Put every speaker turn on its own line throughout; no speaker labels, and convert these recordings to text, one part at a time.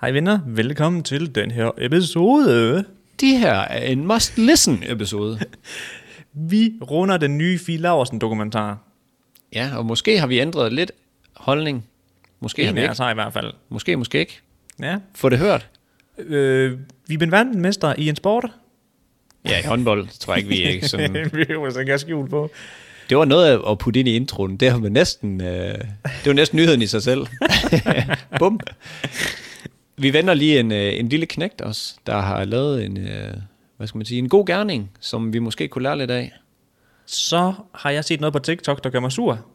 Hej venner, velkommen til den her episode.
Det her er en must-listen-episode.
Vi runder den nye Fie Laversen dokumentar.
ja, og måske har vi ændret lidt holdning. Måske har
En
vi
af
ikke.
os har i hvert fald.
Måske, måske ikke.
Ja.
Få det hørt.
Øh, vi er blevet verdensmester i en sport.
Ja, i håndbold tror jeg ikke, vi er ikke sådan.
vi er jo så ikke skjul på.
Det var noget at putte ind i introen. Det har man næsten... Øh, det var næsten nyheden i sig selv. Bum. Vi venter lige en, øh, en lille knægt også, der har lavet en, øh, hvad skal man sige, en god gerning, som vi måske kunne lære lidt af.
Så har jeg set noget på TikTok, der gør mig sur.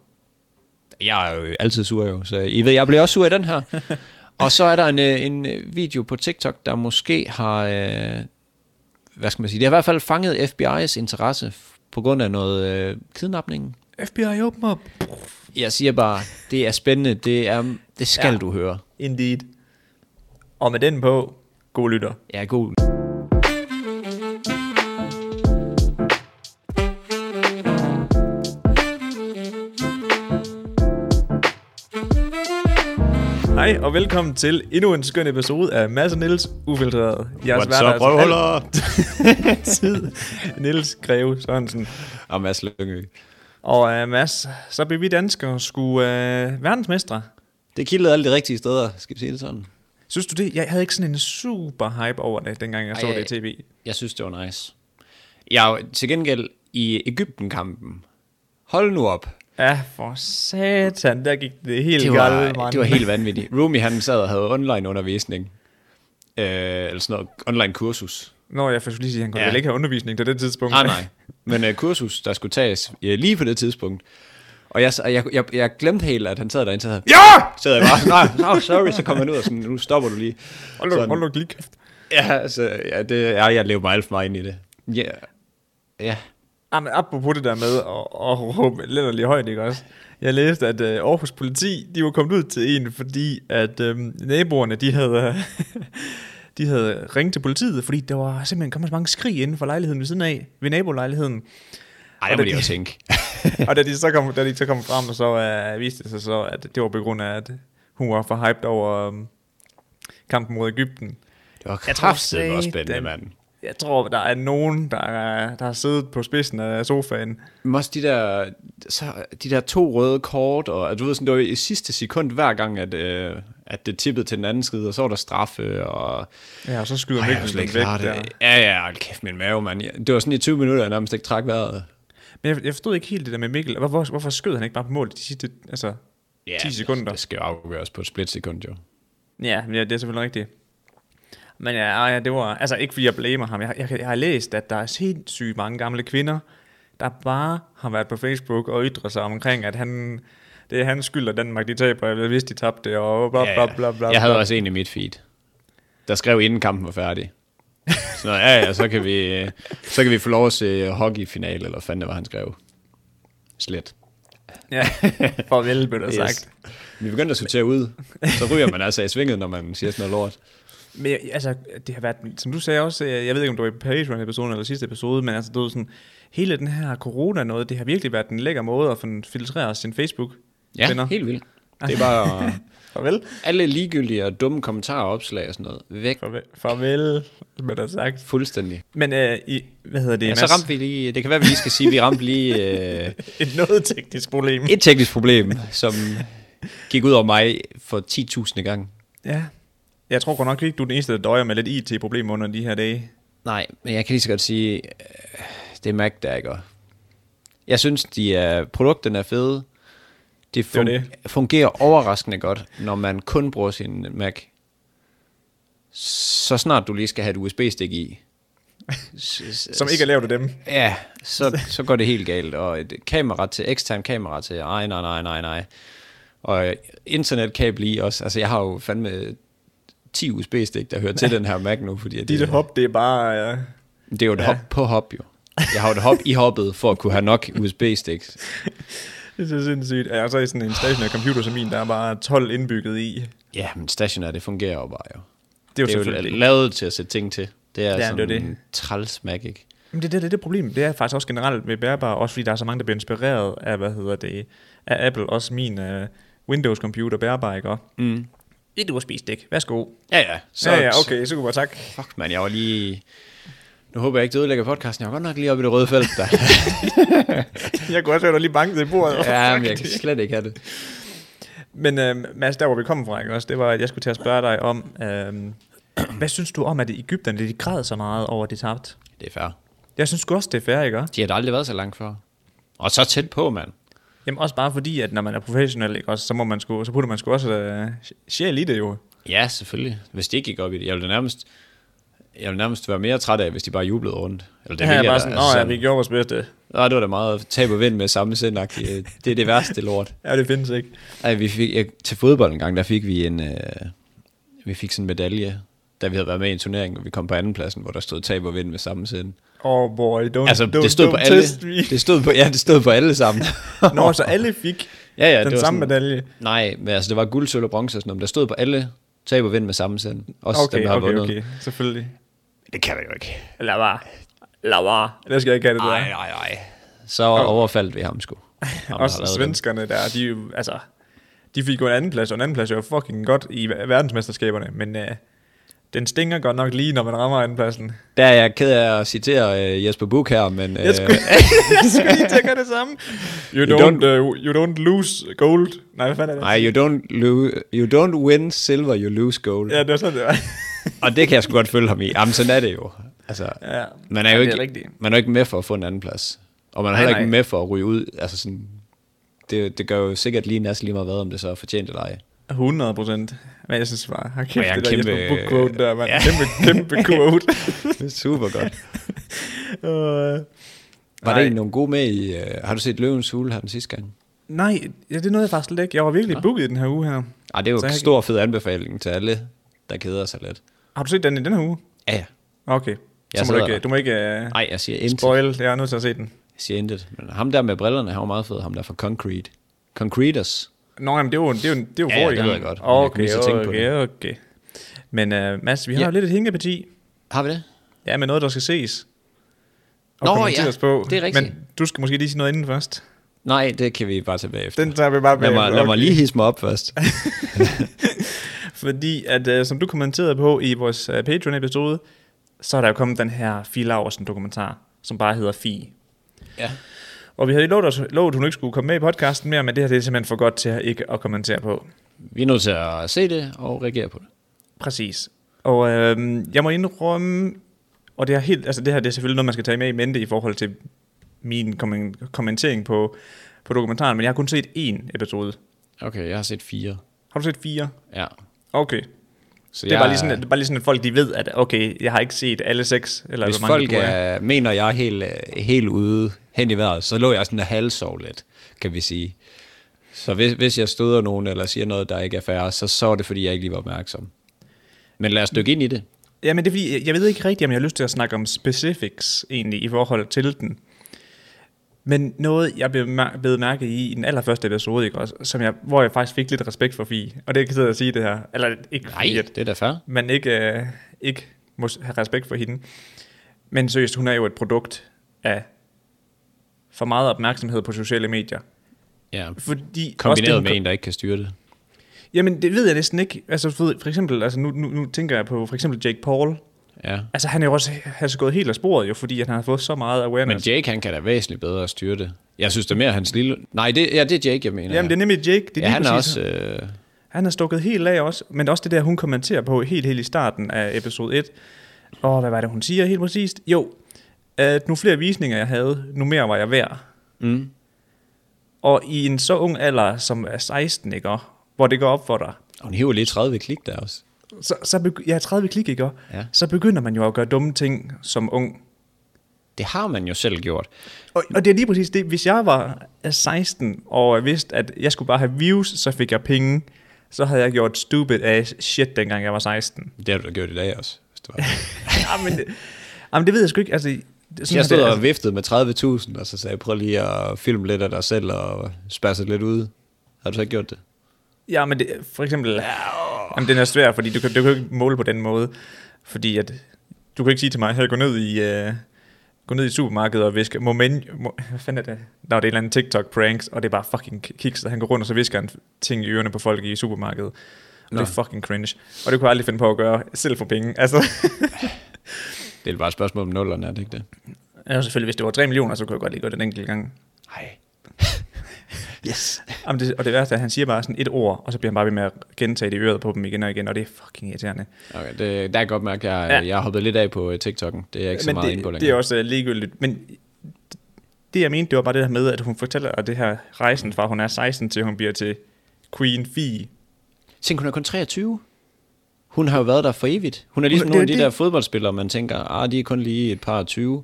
Jeg er jo altid sur jo, så I ved, jeg bliver også sur i den her. Og så er der en, øh, en øh, video på TikTok, der måske har, øh, hvad skal man sige, det har i hvert fald fanget FBI's interesse f- på grund af noget øh, kidnapning.
FBI, open up.
Jeg siger bare, det er spændende, det, er, det skal
Ja.
ja. du høre.
Indeed. Og med den på, god lytter.
Ja, god.
Hej og velkommen til endnu en skøn episode af Mads og Niels Ufiltreret. Jeg
What's up, røvhuller?
Tid. Niels Greve Sørensen.
Og Mads Lyngø.
Og øh, Mads, så blev vi danskere skulle øh, verdensmestre.
Det kildede alle de rigtige steder, skal vi sige det sådan.
Synes du det? Jeg havde ikke sådan en super hype over det, dengang jeg så
Ej, øh.
det i tv.
Jeg synes, det var nice. Jeg er jo til gengæld i Ægypten-kampen. Hold nu op.
Ja, for satan, der gik det helt
det var,
galt, mand.
det var helt vanvittigt. Rumi han sad og havde online undervisning. Øh, eller sådan noget online kursus.
Nå, jeg først lige sige, han kunne ja.
Ja.
vel ikke have undervisning til det tidspunkt.
Ah, nej. Men øh, kursus, der skulle tages ja, lige på det tidspunkt. Og jeg, og jeg, jeg, jeg glemte helt, at han sad derinde, så havde,
Ja!
så sad jeg bare, nej, no, sorry, så kom han ud og sådan, nu stopper du lige.
Hold nu,
Sådan.
hold nu lige kæft.
Ja, altså, ja, det, ja, jeg lever mig alt for meget ind i det. Ja, ja.
Ah, men apropos det der med at, at råbe lidt højt, ikke også? Jeg læste, at øh, Aarhus Politi, de var kommet ud til en, fordi at øh, naboerne, de havde, øh, de havde ringet til politiet, fordi der var simpelthen kommet så mange skrig inden for lejligheden ved siden af, ved nabolejligheden. Og
Ej, det må
det-
jeg jo tænke.
og da de så kom, da de så kom frem, og så øh, viste det sig så, at det var på grund af, at hun var for hyped over øh, kampen mod Ægypten.
Det var
Jeg tror,
kraftigt, hvor spændende,
satan.
mand.
Jeg tror, der er nogen, der, er- der har siddet på spidsen af sofaen.
Men også de der, så, de der to røde kort, og at du ved, sådan, det var i sidste sekund hver gang, at, øh, at det tippede til den anden skide, og så var der straffe, og...
Ja, og så skyder
Ej, jeg kunne
Mikkelsen
slet ikke
væk
klare
der.
det. Ja, ja, hold kæft, min mave, mand. Jeg- Det var sådan i 20 minutter, jeg nærmest ikke trak vejret.
Men jeg, jeg forstod ikke helt det der med Mikkel. Hvorfor, hvorfor skød han ikke bare på mål de sidste altså,
Ja,
10 sekunder?
Det, det skal jo afgøres på et splitsekund, jo.
Ja, men ja, det er selvfølgelig rigtigt. Men ja, ej, ja, det var, altså ikke fordi jeg blamer ham. Jeg, jeg, jeg har læst, at der er sindssygt mange gamle kvinder, der bare har været på Facebook og ytret sig omkring, at han, det er hans skyld, at Danmark de taber, eller hvis de tabte, og bla bla bla bla.
Jeg havde også en i mit feed, der skrev, inden kampen var færdig. Så ja, ja, så kan vi, øh, så kan vi få lov at se hockeyfinale, eller hvad fanden det var, han skrev. Slet.
Ja, farvel, blev der yes. sagt.
Vi begyndte at sortere ud. Så ryger man altså i svinget, når man siger sådan noget lort.
Men jeg- altså, det har været, som du sagde også, øh, jeg jeg ved ikke, om det var i Patreon-episoden eller sidste episode, men altså, det var sådan, hele den her corona-noget, det har virkelig været en lækker måde at sådan filtrere sin
Ja,
Facebook-venner.
helt vildt. Det er bare
Farvel.
alle ligegyldige og dumme kommentarer og opslag og sådan noget. Væk
Farvel, farvel blev der sagt.
fuldstændig.
Men øh, i, hvad hedder det,
Ja, så ramte vi lige, det kan være, vi lige skal sige, vi ramte lige øh,
et noget teknisk problem.
et teknisk problem, som gik ud over mig for 10.000 gange.
Ja. Jeg tror godt nok ikke, du er den eneste, der døjer med lidt IT-problemer under de her dage.
Nej, men jeg kan lige så godt sige, øh, det er Mac, der ikke Jeg synes, de er, produkterne er fede. Det,
Det var
fun- det, fungerer overraskende godt, når man kun bruger sin Mac. Så snart du lige skal have et USB-stik i.
Som ikke er lavet af dem.
Ja, så, så går det helt galt. Og et kamera til, ekstern kamera til, ej, nej, nej, nej, nej. Og øh, internetkabel i også. Altså, jeg har jo fandme 10 USB-stik, der hører til den her Mac nu, fordi at
Dit hop, det er bare... Ja.
det er jo et ja. hop på hop, jo. Jeg har jo et hop i hoppet, for at kunne have nok USB-sticks.
Det er så sindssygt. Ja, og så er sådan en stationær computer som min, der er bare 12 indbygget i. Det
Ja, men stationær, det fungerer jo bare,
er
jo.
jo
Det er jo,
selvfølgelig...
lavet til at sætte ting til. Det er
Ja,
ja,
det er
sådan det
det.
det. træls Mac, ikke?
Men det, er det, det, er det problem, det er faktisk også generelt med bærbare, også fordi der er så mange, der bliver inspireret øh, af, hvad hedder det, af Apple, også min uh, Windows-computer bærbar, ikke? Mm. et urspist dæk. Værsgo.
Ja, ja.
Så, ja, ja, okay, så kunne jeg tak.
Fuck, man, jeg var lige... Nu håber jeg ikke, det ødelægger podcasten. Jeg var godt nok lige oppe i det røde felt, der.
Jeg kunne også høre, at der lige bankede i bordet.
ja, men jeg kan slet ikke have det.
Men øh, Mads, der hvor vi kom fra, ikke også, det var, at jeg skulle til at spørge dig om, øh, hvad synes du om, at Ægypterne de græd så meget over, at de tabte?
Det er fair.
Jeg synes sgu også, det er fair, ikke også?
De har da aldrig været så langt før. Og så tæt på, mand.
Jamen også bare fordi, at når man er professionel, ikke også, så, må man sgu, så putter man sgu også øh, sjæl i det jo.
Ja, selvfølgelig. Hvis de ikke gik op i det. Jeg ville da nærmest, jeg ville nærmest være mere træt af, hvis de bare jublede rundt. Eller
Det ja, jeg
ville
bare
da,
sådan,
altså
altså, ja, vi gjorde vores bedste.
Nej, det var da meget tab og vind med samme sind -agtigt. Det er det værste lort.
Ja, det findes ikke.
Ej, vi fik, jeg, til fodbold en gang, der fik vi en, øh, vi fik sådan en medalje, da vi havde været med i en turnering, og vi kom på andenpladsen, hvor der stod tab og vind med samme sind.
Oh boy, don't,
Altså,
don't,
det stod
don't
på alle,
test me.
det stod på, ja, det stod på alle sammen.
Nå, så alle fik
ja, ja,
den
det var
samme
sådan-
medalje.
Nej, men altså, det var guld, sølv og bronze og sådan noget, men der stod på alle tab og vind med samme sind. Også okay, dem,
Okay,
der har
okay,
vundet.
okay, selvfølgelig.
Det kan man jo ikke.
Lad bare. Lad bare. Det skal jeg ikke have det der.
Nej, nej, nej. Så overfaldt vi ham sgu. Ham, der har
Også
lavet den.
svenskerne der, de, er jo- altså, de fik jo en anden plads, og en anden plads er jo fucking godt i ver- verdensmesterskaberne, men øh, den stinger godt nok lige, når man rammer andenpladsen.
Der er jeg ked af at citere øh, Jesper Buch her, men... Øh,
Jeg skulle, jeg skulle lige til at gøre det samme. You
You
don't, uh, you don't lose gold. Nej, hvad fanden er det?
Nej, you don't, lose, you don't win silver, you lose gold.
Ja,
Ja.
det var sådan, det var.
Og det kan jeg sgu godt følge ham i. Jamen, sådan er det jo. Altså,
ja.
man, er jo
Ja, det er
ikke,
rigtigt.
man er jo ikke med for at få en anden plads. Og man er
Nej,
heller ikke
nej.
med for at ryge ud. Altså sådan, det, det gør jo sikkert lige næsten lige meget hvad, om det så er fortjent eller ej.
100 procent. Men jeg synes bare, har
Og
kæft,
jeg er
det der
kæmpe-
kæmpe, Jesper Buch quote der, man. Ja. Kæmpe, kæmpe quote.
Det er super godt.
uh,
Var
Nej.
der egentlig nogle gode med i... Øh, har du set Løvens Hule her den sidste gang?
nej, ja, det nåede jeg faktisk slet ikke. Jeg var virkelig booket i den her uge her.
Ej, Ah, det er jo
Så
en
jeg-
stor fed anbefaling til alle, der keder sig lidt.
Har du set den i den her uge?
Ja, ja.
Okay. Så må
Jeg
du
sidder
ikke,
der.
du må ikke uh,
Ej, jeg siger intet.
spoil. Jeg er nødt til at se den.
Jeg siger intet. Men ham der med brillerne, han var meget fed. Ham der fra Concrete. Concreters.
Nå, jamen, det er jo, det er jo, det er jo
Ja, ja,
forrige
det ved
gang.
jeg godt, men jeg kunne
Okay,
lige så
okay,
tænke på
okay, okay. Men uh, Mads, vi har
Ja.
jo lidt et hængeparti.
Har vi det?
Ja, med noget, der skal ses. Og
Nå,
kommenteres
ja,
på.
det er rigtigt.
Men du skal måske lige sige noget inden først.
Nej, det kan vi bare tage bagefter.
Den tager vi bare med.
Lad mig, lad mig lige hisse mig op først.
Fordi, at, øh, som du kommenterede på i vores øh, Patreon-episode, så er der jo kommet den her Fie Laursen-dokumentar, som bare hedder Fie.
ja.
Og vi havde jo lovet, os- lovet, at hun ikke skulle komme med i podcasten mere, men det her det er simpelthen for godt til at ikke at kommentere på.
Vi er nødt til at se det og reagere på det.
Præcis. Og øh, jeg må indrømme, og det, er helt, altså det her det er selvfølgelig noget, man skal tage med i mente i forhold til min kommen- kommentering på, på dokumentaren, men jeg har kun set én episode.
Okay, jeg har set fire.
Har du set fire?
Ja.
Okay.
Så
Det er, bare lige sådan, at, det er bare lige sådan, at folk de ved, at okay, jeg har ikke set alle seks. Eller
Hvis
hvor mange
folk
der er.
er, mener, jeg er helt, øh, helt ude hen i vejret, så lå jeg sådan og halvsov lidt, kan vi sige. Så hvis, hvis jeg støder nogen eller siger noget, der ikke er færre, så, så er det, fordi jeg ikke lige var opmærksom. Men lad os dykke ind i det.
Jamen det er fordi, jeg- jeg ved ikke rigtigt, om jeg har lyst til at snakke om specifics egentlig i forhold til den. Men noget, jeg blev, mær- blev mærke i i den allerførste episode, ikke også, som jeg, hvor jeg faktisk fik lidt respekt for Fie. Og det er ikke sidde at sige det her. Eller ikke
Nej,
fordi, at
det er da fair.
man ikke, øh, ikke må s- have respekt for hende. Men seriøst, hun er jo et produkt af for meget opmærksomhed på sociale medier.
Ja.
Fordi også det,
Kombineret
hun
med en, der ikke kan styre det.
Jamen, det ved jeg næsten ikke. Altså, for, for eksempel, altså, nu, nu, nu tænker jeg på for eksempel Jake Paul.
Ja.
Altså, han er jo også altså, gået helt af sporet, jo, fordi at han har fået så meget
Men
awareness.
Jake, han kan da væsentligt bedre styre det. Jeg synes, det er mere hans lille... Nej, det, ja, det er Jake, jeg mener.
Jamen, det er nemlig Jake. Det er
ja,
lige
han er
præcis-
også... Øh,
Han er stukket helt af også, men også det der, hun kommenterer på helt, helt i starten af episode 1. Og hvad var det, hun siger helt præcist? Jo, at nu flere visninger jeg havde, nu mere var jeg værd.
mm,
Og i en så ung alder, som er 16, ikke? og Hvor det går op for dig.
og hun hiver lige 30 klik der også.
Så, så begy- ja, 30 klik, ikke? og
Ja.
Så begynder man jo at gøre dumme ting som ung.
Det har man jo selv gjort.
Og, og det er lige præcis det. Hvis jeg var øh, 16 og vidste, at jeg skulle bare have views, så fik jeg penge, så havde jeg gjort stupid ass shit, dengang jeg var 16.
Det har du da gjort i dag også. Hvis det var.
jamen, det, jamen, det ved jeg sgu ikke. Altså, det- sådan
jeg
er det,
stod og
altså,
viftede med 30.000, og så sagde jeg, prøv lige at filme lidt af dig selv og spærse lidt ud. Har du så ikke gjort det?
ja, men det, for eksempel... Jamen, den er svær, fordi du kan, du kan jo ikke måle på den måde. Fordi at, du kan ikke sige til mig, her gå ned i... Øh, gå ned i supermarkedet og viske, moment, mo, hvad fanden er det? Der var det et eller andet TikTok pranks, og det er bare fucking kiks, han går rundt, og så visker han ting i ørerne på folk i supermarkedet. Og det er fucking cringe. Og det kunne jeg aldrig finde på at gøre, selv for penge. Altså,
Det er bare et spørgsmål om nullerne, er det ikke det?
ja, selvfølgelig, hvis det var 3 millioner, så kunne jeg godt lige gøre det en enkelt gang.
Nej. yes.
Jamen det, og det værste er, at han siger bare sådan et ord, og så bliver han bare ved med at gentage det i øret på dem igen og igen, og det er fucking irriterende.
Okay, det, der kan jeg godt mærke, at jeg,
Ja.
ja. jeg har hoppet lidt af på øh, TikTok'en. Det er jeg ikke så
Men
meget
det,
inde på længere.
det er også uh, ligegyldigt. Men det, jeg mente, det var bare det der med, at hun fortæller at det her rejsen fra, hun er 16 til hun bliver til Queen Fee.
Tænk, hun er kun 23. Hun har jo været der for evigt. Hun er ligesom
Hun-
nogle af
det
de
er
der
det.
fodboldspillere, man tænker, ah, de er kun lige et par og 20.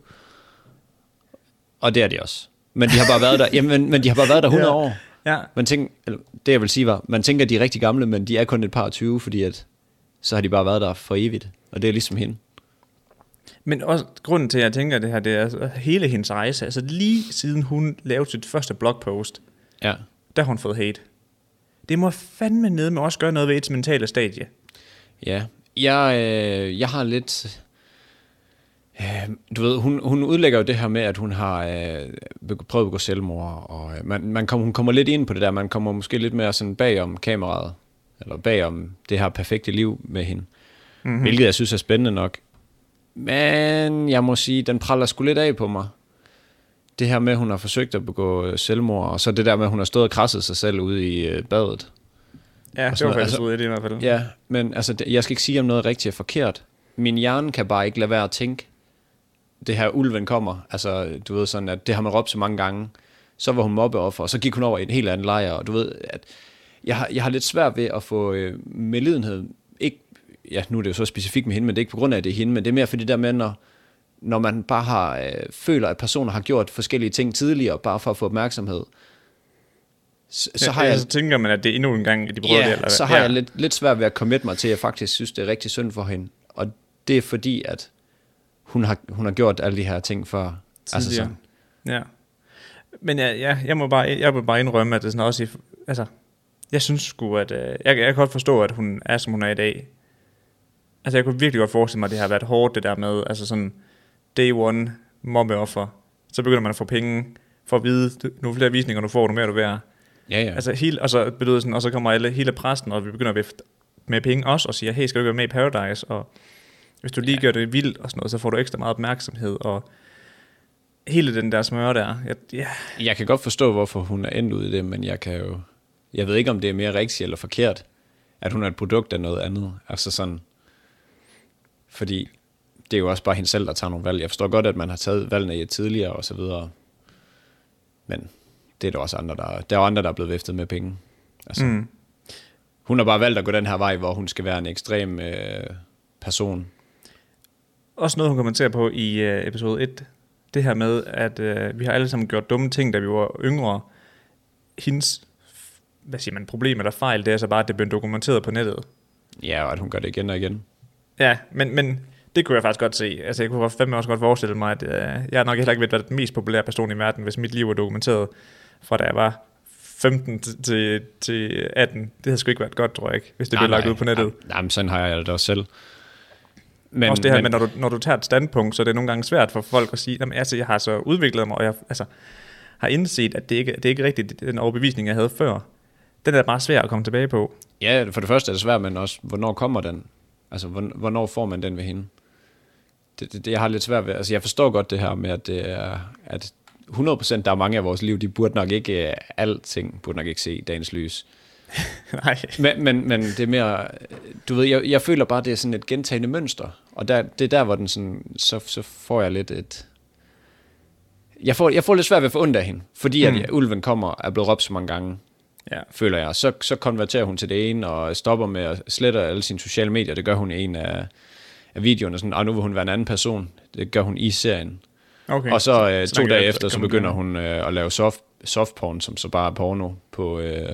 Og det er de også. Men de har bare været der, jamen, men de har bare været der 100
Ja.
år.
Ja.
Man tænker, eller, det jeg vil sige var, man tænker, at de er rigtig gamle, men de er kun et par og 20, fordi at, så har de bare været der for evigt. Og det er ligesom hende.
Men også grunden til, at jeg tænker det her, det er at hele hendes rejse. Altså lige siden hun lavede sit første blogpost,
Ja.
der har hun fået hate. Det må fandme ned med også gøre noget ved et mentale stadie.
Ja, jeg, øh, jeg har lidt... Øh, du ved, hun, hun udlægger jo det her med, at hun har øh, beg- prøvet at gå selvmord, og øh, man, man kom, hun kommer lidt ind på det der, man kommer måske lidt mere sådan bagom kameraet, eller bagom det her perfekte liv med hende, mm-hmm. hvilket jeg synes er spændende nok. Men jeg må sige, den praller sgu lidt af på mig. Det her med, at hun har forsøgt at begå øh, selvmord, og så det der med, at hun har stået og krasset sig selv ude i øh, badet.
Ja, det
sådan
var
noget.
faktisk
Altså-
ud af det i hvert fald.
Ja, men altså, det- jeg skal ikke sige, om noget er rigtigt og forkert. Min hjerne kan bare ikke lade være at tænke, det her ulven kommer. Altså, du ved sådan, at det har man råbt så mange gange. Så var hun mobbeoffer, og så gik hun over i en helt anden lejr. Og du ved, at jeg har, jeg har lidt svært ved at få øh, medlidenhed. Ikke, ja, nu er det jo så specifikt med hende, men det er ikke på grund af, at det er hende, men det er mere fordi der med, når, når man bare har, øh, føler, at personer har gjort forskellige ting tidligere, bare for at få opmærksomhed. Så, så har jeg,
så tænker man, at det er endnu en gang, at de prøver
Ja,
det. Eller hvad?
så har
ja.
jeg lidt, lidt svært ved at committe mig til, at jeg faktisk synes, det er rigtig synd for hende. Og det er fordi, at hun har, hun har gjort alle de her ting før. Altså
tidligere.
sådan.
Altså ja. Men ja, ja, jeg, må bare, jeg må bare indrømme, at det er sådan også... I, altså, jeg synes sgu, at... Øh, jeg, jeg kan godt forstå, at hun er, som hun er i dag. Altså, jeg kunne virkelig godt forestille mig, at det har været hårdt, det der med, altså sådan, day one, mobbeoffer. Så begynder man at få penge for at vide, du- nu flere visninger du får, nu mere du værd.
Ja, ja.
Altså, hele, og, så, betyder sådan, og så kommer alle, hele præsten, og vi begynder at vifte med penge også, og siger, hey, skal du ikke være med i Paradise? Og hvis du lige ja. gør det vildt og sådan noget, så får du ekstra meget opmærksomhed, og hele den der smør der. Jeg, ja,
Jeg kan godt forstå, hvorfor hun er endt ud i det, men jeg kan jo... Jeg ved ikke, om det er mere rigtigt eller forkert, at hun er et produkt af noget andet. Altså sådan... Fordi det er jo også bare hende selv, der tager nogle valg. Jeg forstår godt, at man har taget valgene i tidligere og så videre. Men det er der også andre, der... Der er jo andre, der er blevet viftet med penge. Altså, mm. Hun har bare valgt at gå den her vej, hvor hun skal være en ekstrem øh, person.
også noget, hun kommenterer på i øh, episode 1, det her med, at øh, vi har alle sammen gjort dumme ting, da vi var yngre. Hendes, hvad siger man, problem eller fejl, det er så bare, at det blev dokumenteret på nettet.
Ja, og at hun gør det igen og igen.
Ja, men, men det kunne jeg faktisk godt se. Altså, jeg kunne godt- fandme også godt forestille mig, at øh, jeg er nok heller ikke været den mest populære person i verden, hvis mit liv var dokumenteret fra da jeg var 15 til, til, til 18. Det havde sgu ikke været godt, tror jeg ikke, hvis det blev lagt ud på nettet.
Nej, jamen, sådan har jeg det også selv. Men,
Men, også det her men, med, når du, når du tager et standpunkt, så er det nogle gange svært for folk at sige, jamen, altså, jeg har så udviklet mig, og jeg altså, har indset, at det ikke det er ikke rigtigt den overbevisning, jeg havde før. Den er meget svær at komme tilbage på.
Ja, for det første er det svært, men også, hvornår kommer den? Altså, hvorn- hvornår får man den ved hende? Det, det, det jeg har lidt svært ved. Altså, jeg forstår godt det her med, at, det er, at 100% der er mange af vores liv, de burde nok ikke, øh, alting burde nok ikke se dagens lys.
Nej.
Men, men, men det er mere, øh, du ved, jeg, jeg føler bare, det er sådan et gentagende mønster. Og der, det er der, hvor den sådan, så, så får jeg lidt et... Jeg får, jeg får lidt svært ved at få ondt af hende, fordi mm. at ja, ulven kommer er blevet råbt så mange gange
Ja.
føler jeg. Så, så konverterer hun til det ene, og stopper med at slette alle sine sociale medier. Det gør hun i en af, af videoerne. Sådan, og nu vil hun være en anden person. Det gør hun i serien.
Okay.
Okay. Og så, øh, to
snakker
dage
jeg-
efter, så
kommer
begynder
den.
hun øh, at lave soft, soft porn, som så bare er porno på... Øh,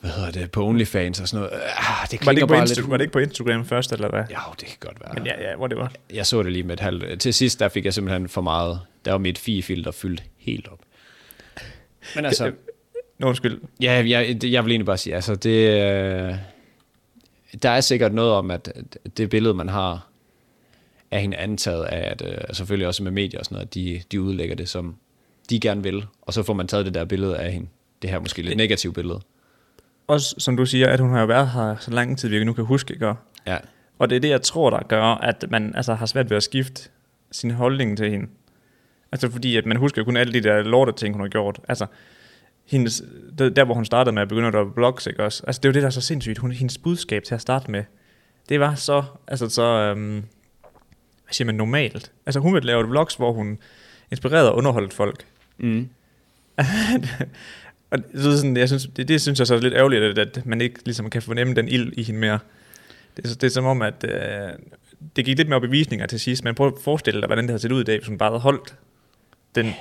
hvad hedder det? På OnlyFans og sådan noget. Ah, det klinger
Var det, ikke på
bare
Insta-
lidt...
var det ikke på Instagram først, eller hvad?
Jo, det kan godt være.
Men ja, ja, hvor det var.
Jeg så det lige med et halvt... Til sidst, der fik jeg simpelthen for meget. Der var mit fi-filter fyldt helt op. Men altså...
Nå, undskyld.
Ja, jeg, det- jeg vil egentlig bare sige, altså det, øh, der er sikkert noget om, at at det billede, man har af hende antaget af, at øh, selvfølgelig også med medier og sådan noget, at de, de udlægger det, som de gerne vil, og så får man taget det der billede af hende. Det her måske lidt negative billede.
også som du siger, at hun har jo været her så lang tid, vi nu kan huske, ikke? Og-
Ja.
Og det er det, jeg tror, der gør, at man altså, har svært ved at skifte sin holdning til hende. Altså fordi, at man husker jo kun alle de der lorte ting, hun har gjort. Altså, hendes, der, der hvor hun startede med at begynde at droppe blogs, ikke også? Altså, det er jo det, der er så sindssygt. Hun, hendes budskab til at starte med, det var så, altså så, øhm, hvad siger man, normalt. Altså, hun ville lave et vlogs, hvor hun inspirerede og underholdt folk.
Mm.
Og det, er sådan, jeg synes, det, det synes jeg så er lidt ærgerligt, at, at man ikke ligesom kan fornemme den ild i hende mere. Det, er så- det er som om, at øh, det gik lidt mere bevisninger til sidst, men prøv at forestille dig, hvordan det havde set ud i dag, hvis hun bare havde holdt den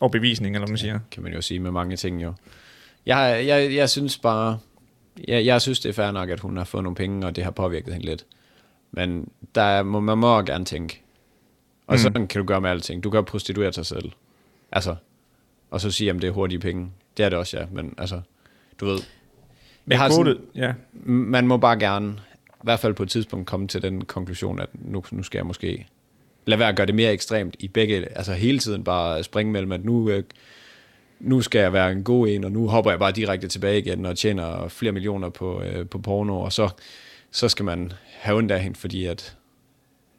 overbevisning, eller hvad man siger.
Kan man jo sige med mange ting jo. Jeg, jeg, jeg synes bare, jeg, jeg synes det er fair nok, at hun har fået nogle penge, og det har påvirket hende lidt. Men der er, må, man må gerne tænke. Og mm. sådan kan du gøre med alting. Du kan prostituere dig selv. Altså, og så sige, at det er hurtige penge. Det er det også, ja. Men altså, du ved.
Men
har sådan-
kvotet, ja.
man må bare gerne, i hvert fald på et tidspunkt, komme til den konklusion, at nu, nu skal jeg måske lade være at gøre det mere ekstremt i begge, altså hele tiden bare springe mellem, at nu, øh, nu skal jeg være en god en, og nu hopper jeg bare direkte tilbage igen og tjener flere millioner på, øh, på porno, og så, så skal man have ondt af hende, fordi at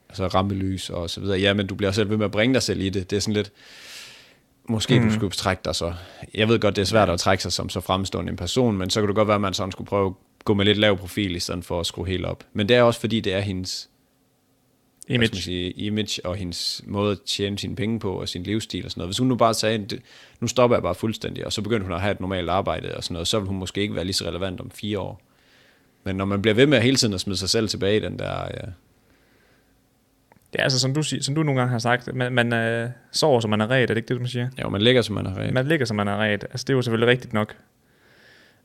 altså rampelys og så videre. Ja, men du bliver selv ved med at bringe dig selv i det. Det er sådan lidt, måske mm. du skulle trække dig så. Jeg ved godt, det er svært at trække sig som så fremstående en person, men så kunne det godt være, at man sådan skulle prøve at gå med lidt lav profil, i stedet for at skrue helt op. Men det er også fordi, det er hendes image,
Image.
sige, image og hendes måde at tjene sine penge på, og sin livsstil og sådan noget. Hvis hun nu bare sagde, "Det- nu stopper jeg bare fuldstændig, og så begyndte hun at have et normalt arbejde og sådan noget, så ville hun måske ikke være lige så relevant om fire år. Men når man bliver ved med hele tiden at smide sig selv tilbage i den der... øh, Ja,
Det er altså, som du, siger, som du nogle gange har sagt, at man, man øh, sover, som man er ret, er det ikke det, man siger?
jo, man ligger, som man har ret.
Man ligger, som man er ret. Altså, det er jo selvfølgelig rigtigt nok.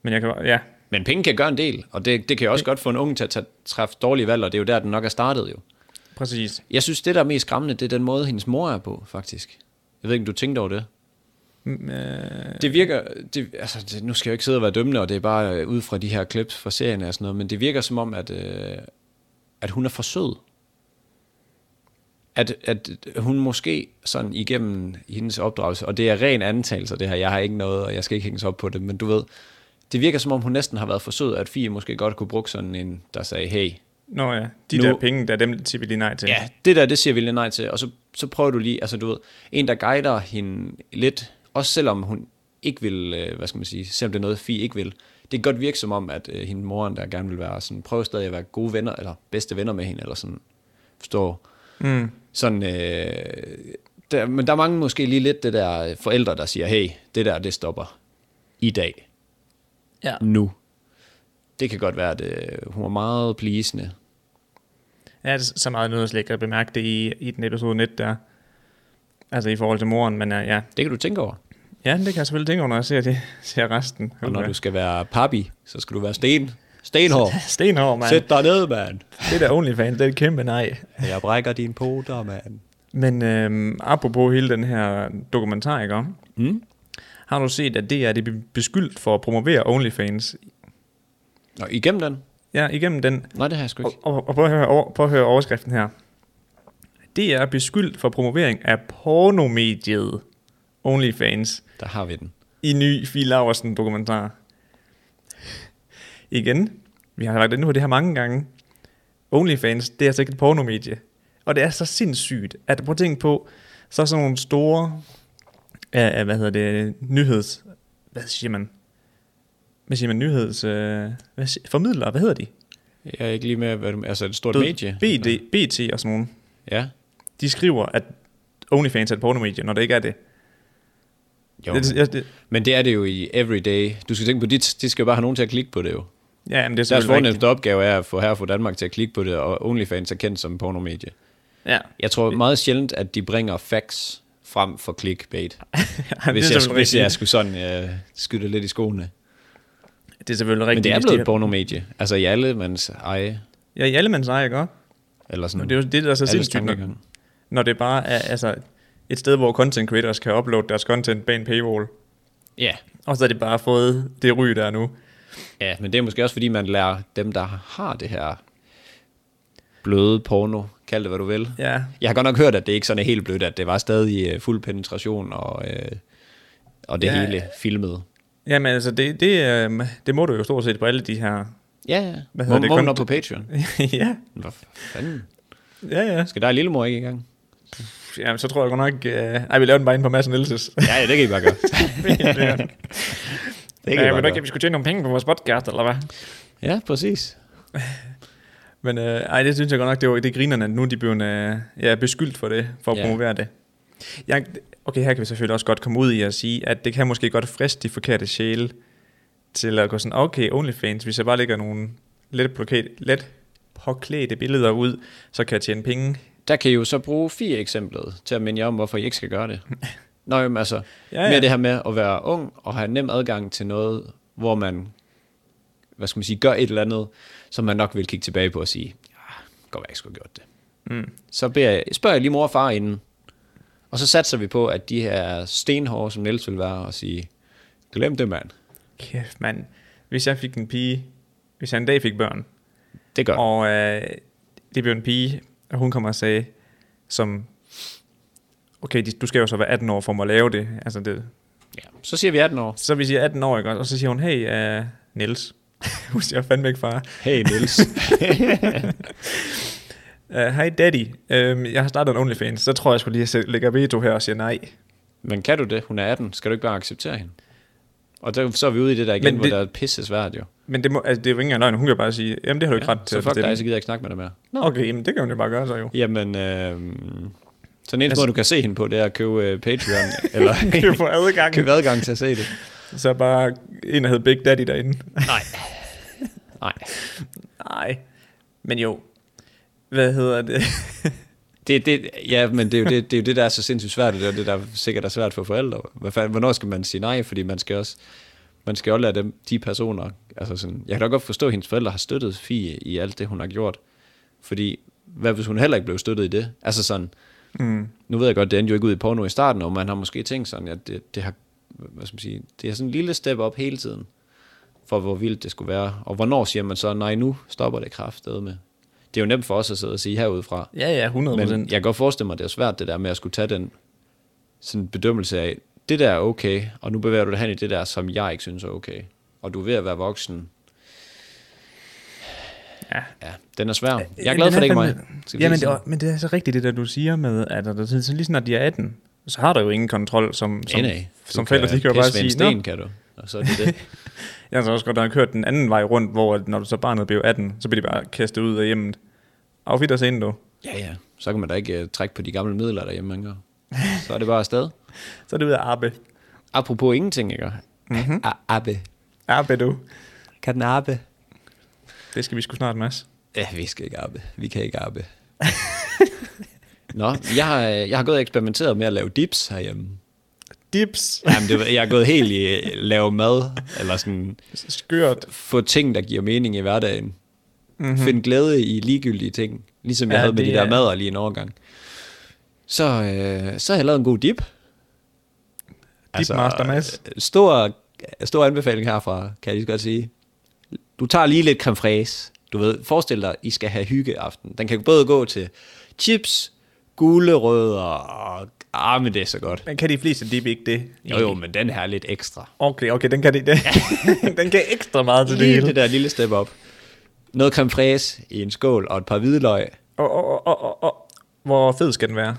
Men jeg kan, ja,
Men penge kan gøre en del, og det, det kan jo også godt få en ung til at tage- træffe dårlige valg, og det er jo der, den nok er startet jo.
præcis.
Jeg synes, det der er mest skræmmende, det er den måde, hendes mor er på, faktisk. Jeg ved ikke, om du tænkte over det.
Mm, øh,
Det virker, det, altså det, nu skal jeg jo ikke sidde og være dømmende, og det er bare øh, ud fra de her clips fra serien og sådan noget, men det virker som om, at, øh, at hun er for sød. At, at hun måske sådan igennem hendes opdragelse, og det er ren antagelse det her, jeg har ikke noget, og jeg skal ikke hænges op på det, men du ved, det virker som om, hun næsten har været for sød, at Fie måske godt kunne bruge sådan en, der sagde, hey,
nå ja, de
Nu-
nu, der penge, der er dem, siger vi lige nej til.
Ja, det der, det siger vi lidt nej til. Og så, så prøver du lige, altså du ved, en der guider hende lidt, også selvom hun ikke vil, øh, hvad skal man sige, selvom det er noget, Fie ikke vil. Det kan godt virke som om, at øh, hende moren, der gerne vil være sådan, prøver stadig at være gode venner, eller bedste venner med hende, eller sådan, forstår.
Mm.
Sådan, øh, der, men der er mange måske lige lidt det der øh, forældre, der siger, hey, det der, det stopper i dag.
Ja.
Nu. Det kan godt være, at øh, hun er meget pleasende.
Ja, det er så meget noget, jeg slet ikke har bemærket det i, i den episode 19 der. Altså i forhold til moren, men øh, ja.
Det kan du tænke over.
Ja, det kan jeg selvfølgelig tænke over, når jeg ser, det, ser resten.
Og når du skal være papi, så skal du være sten. Stenhår.
Stenhård, mand.
Sæt dig ned, mand.
Det der OnlyFans, det er et kæmpe nej.
Jeg brækker dine poter, mand.
Men øhm, apropos hele den her dokumentar, ikke om?
Mm.
Har du set, at det er det beskyldt for at promovere OnlyFans?
Nå, igennem den? Oh.
Ja, igennem den.
Nej, det har jeg sgu
Og,
ikke.
og, og prøv, at høre, over- prøv at høre overskriften her. Det er beskyldt for promovering af pornomediet OnlyFans.
Der har vi den.
i ny Fie Laversen dokumentar. Igen, vi har været inde på det her mange gange. OnlyFans, det er altså ikke et pornomedie. Og det er så sindssygt, at prøv at tænke på, så er sådan nogle store, uh, hvad hedder det, nyheds, hvad siger man? Hvad siger man, nyheds, uh, hvad siger, formidlere, hvad hedder de?
Jeg er ikke lige med, hvad du... Altså, et stort
Du ved,
medie.
BD, BT og sådan nogle.
Ja.
De skriver, at OnlyFans er et pornomedie, når det ikke er det.
Jo.
det, jeg- det
Men det er det jo i everyday. Du skal tænke på, de, de skal jo bare have nogen til at klikke på det jo.
ja, men det er
Deres
selvfølgelig rigtigt.
fornemmeste opgave er at få her og få Danmark til at klikke på det, og OnlyFans er kendt som pornomedie.
Ja.
Jeg tror meget sjældent, at de bringer facts frem for clickbait.
det er
hvis, jeg,
selvfølgelig
hvis jeg
rigtigt.
skulle sådan øh, skyde det lidt i skoene.
Det er selvfølgelig rigtigt.
Men det er
hvis de
blevet
har-
et pornomedie. Altså i alle mands eje.
Ja, i alle mands eje, ikke også?
Eller sådan.
Men det er jo det, der er så
Alles
sindssygt, når,
tankegang.
når det bare er altså, et sted, hvor content creators kan uploade deres content bag en paywall.
Ja.
Og så er det bare fået det ry, der er nu.
ja, men det er måske også, fordi man lærer dem, der har det her bløde porno, kald det hvad du vil.
Ja,
Jeg har godt nok hørt, at det ikke sådan er helt blødt, at det var stadig øh, fuld penetration og, øh, og det
Ja.
hele filmet.
Jamen altså, det, det, øhm, det må du jo stort set på alle de her...
Ja, ja.
Hvad
Hvad
hedder det?
hedder må, det? Må man
Kon-
op på Patreon?
ja,
Hvad fanden?
ja, ja.
Skal dig og lillemor ikke i gang?
Jamen, så tror jeg godt nok... Øh, ej, vi laver den bare inde på Mads Nielses.
Ja, ja, det kan I bare gøre. det kan I bare gøre.
vi skulle tjene nogle penge på vores podcast, eller hvad?
Ja, præcis.
Men øh, ej, det synes jeg godt nok, det, var, det er grinerne, at nu er de blevet øh, ja, beskyldt for det, for at
Ja.
promovere det. Jeg, okay, her kan vi selvfølgelig også godt komme ud i at sige, at det kan måske godt friste de forkerte sjæle til at gå sådan, okay, OnlyFans, hvis jeg bare lægger nogle let, plakæt, let påklædte billeder ud, så kan jeg tjene penge.
Der kan I jo så bruge fire eksemplet til at minde jer om, hvorfor I ikke skal gøre det. Nå, jamen altså,
Ja,
ja,
ja.
ja. mere det her med at være ung og have nem adgang til noget, hvor man, hvad skal man sige, gør et eller andet, som man nok vil kigge tilbage på og sige, ja, godt være, jeg ikke skulle have gjort det.
Mm.
Så beder jeg, spørger jeg lige mor og far inden, og så satser vi på, at de her stenhårde, som Niels vil være, og sige, glem det mand,
Kæft, mand. Hvis jeg fik en pige, hvis jeg en dag fik børn,
det gør.
Og øh, det blev en pige, og hun kommer og sagde, som, okay, de- du skal jo så være 18 år for mig at lave det. Altså det.
Ja. Så siger vi 18 år.
Så vi siger 18 år, ikke? også? og så siger hun, hey, øh, Niels. hun siger fandme ikke far.
Hey Niels.
Øh, Hej daddy, øhm, jeg har startet en OnlyFans, så tror jeg, jeg skulle lige at sætte- lægge veto her og sige nej.
Men kan du det? Hun er 18. Skal du ikke bare acceptere hende? Og der, så er vi ude i det der igen,
Men
det, hvor
det-
der er pisse svært jo.
Men det, må, altså, det er jo ikke engang løgn, hun kan bare sige, jamen det har du ikke
Ja,
ret til
så
at
fuck
bestemme."
dig, så gider jeg ikke snakke med dig mere.
Nå, Okay, jamen det kan hun jo bare gøre så jo.
Jamen, øh, så den eneste
Altså-
måde, du kan se hende på, det er at købe øh, Patreon, eller
Kan få adgang,
købe adgang til at se det.
så bare en, der hed Big Daddy derinde.
Nej. Nej.
Nej, men jo, hvad hedder det?
Det, det, ja, men det er, jo det, det er jo det, der er så sindssygt svært, og det er det, der sikkert er svært for forældre. Hvad fanden, hvornår skal man sige nej? Fordi man skal også man skal jo lade dem, de personer, altså sådan, jeg kan da godt forstå, at hendes forældre har støttet Fie i alt det, hun har gjort. Fordi, hvad hvis hun heller ikke blev støttet i det? Altså sådan,
mm.
nu ved jeg godt, det endte jo ikke ud i porno i starten, og man har måske tænkt sådan, at det, det har, hvad skal man sige, det er sådan en lille step op hele tiden, for hvor vildt det skulle være. Og hvornår siger man så, nej, nu stopper det kraftedeme med. Det er jo nemt for os at sidde og sige herudefra,
Ja, ja, 100%.
men jeg kan godt forestille mig, at det er svært det der med at skulle tage den sådan bedømmelse af, det der er okay, og nu bevæger du dig hen i det der, som jeg ikke synes er okay. Og du er ved at være voksen.
Ja.
ja den er svær. Jeg er glad for, at det ikke er mig. Skal vi
Ja, men
lige
det,
sige.
er- men det er så rigtigt det der, du siger med, at der, så lige snart de er 18, så har du jo ingen kontrol, som, som,
Nej, nej. Du
som forældre, de kan jo
pisse
bare
ved
sige,
en sten,
Nå,
kan du. Og så er det det.
jeg har så også godt nok hørt den anden vej rundt, hvor at når du så barnet blev 18, så bliver de bare kastet ud af hjemmet. Af vidt ind, du.
ja, ja. Så kan man da ikke uh, trække på de gamle midler derhjemme, man gør. Så er det bare afsted.
Så er det ud af arbejde.
Apropos ingenting, ikke? Mm-hmm. Abbe.
Arbejde, du.
Kan den abbe?
Det skal vi sgu snart, Mads.
Ja, vi skal ikke arbejde. Vi kan ikke arbejde. Nå, jeg har, jeg har gået og eksperimenteret med at lave dips herhjemme.
Dips.
Jamen, det, jeg har gået helt i øh, lave mad, eller sådan
Skørt.
få ting, der giver mening i hverdagen. Mm-hmm. Find glæde i ligegyldige ting, ligesom jeg
Mhm. Ja,
ja, havde med
det
de der
er-
mader lige en overgang. Så, øh, så har jeg lavet en god dip.
Dipmaster Mads.
øh, Stor, stor anbefaling herfra, kan jeg lige så godt sige. Du tager lige lidt creme fraise. Du ved, forestil dig, I skal have hyggeaften. Den kan både gå til chips, gulerødder og... Ah, men det er så godt.
Men kan de fleste dip ikke det?
Jo, jo, men den her er lidt ekstra.
Okay, okay, den kan de det. den kan ekstra meget til det
Lige det
hele.
der lille step op. Noget creme fraise i en skål og et par hvidløg.
Og, og, og, og, og, hvor fed skal den være?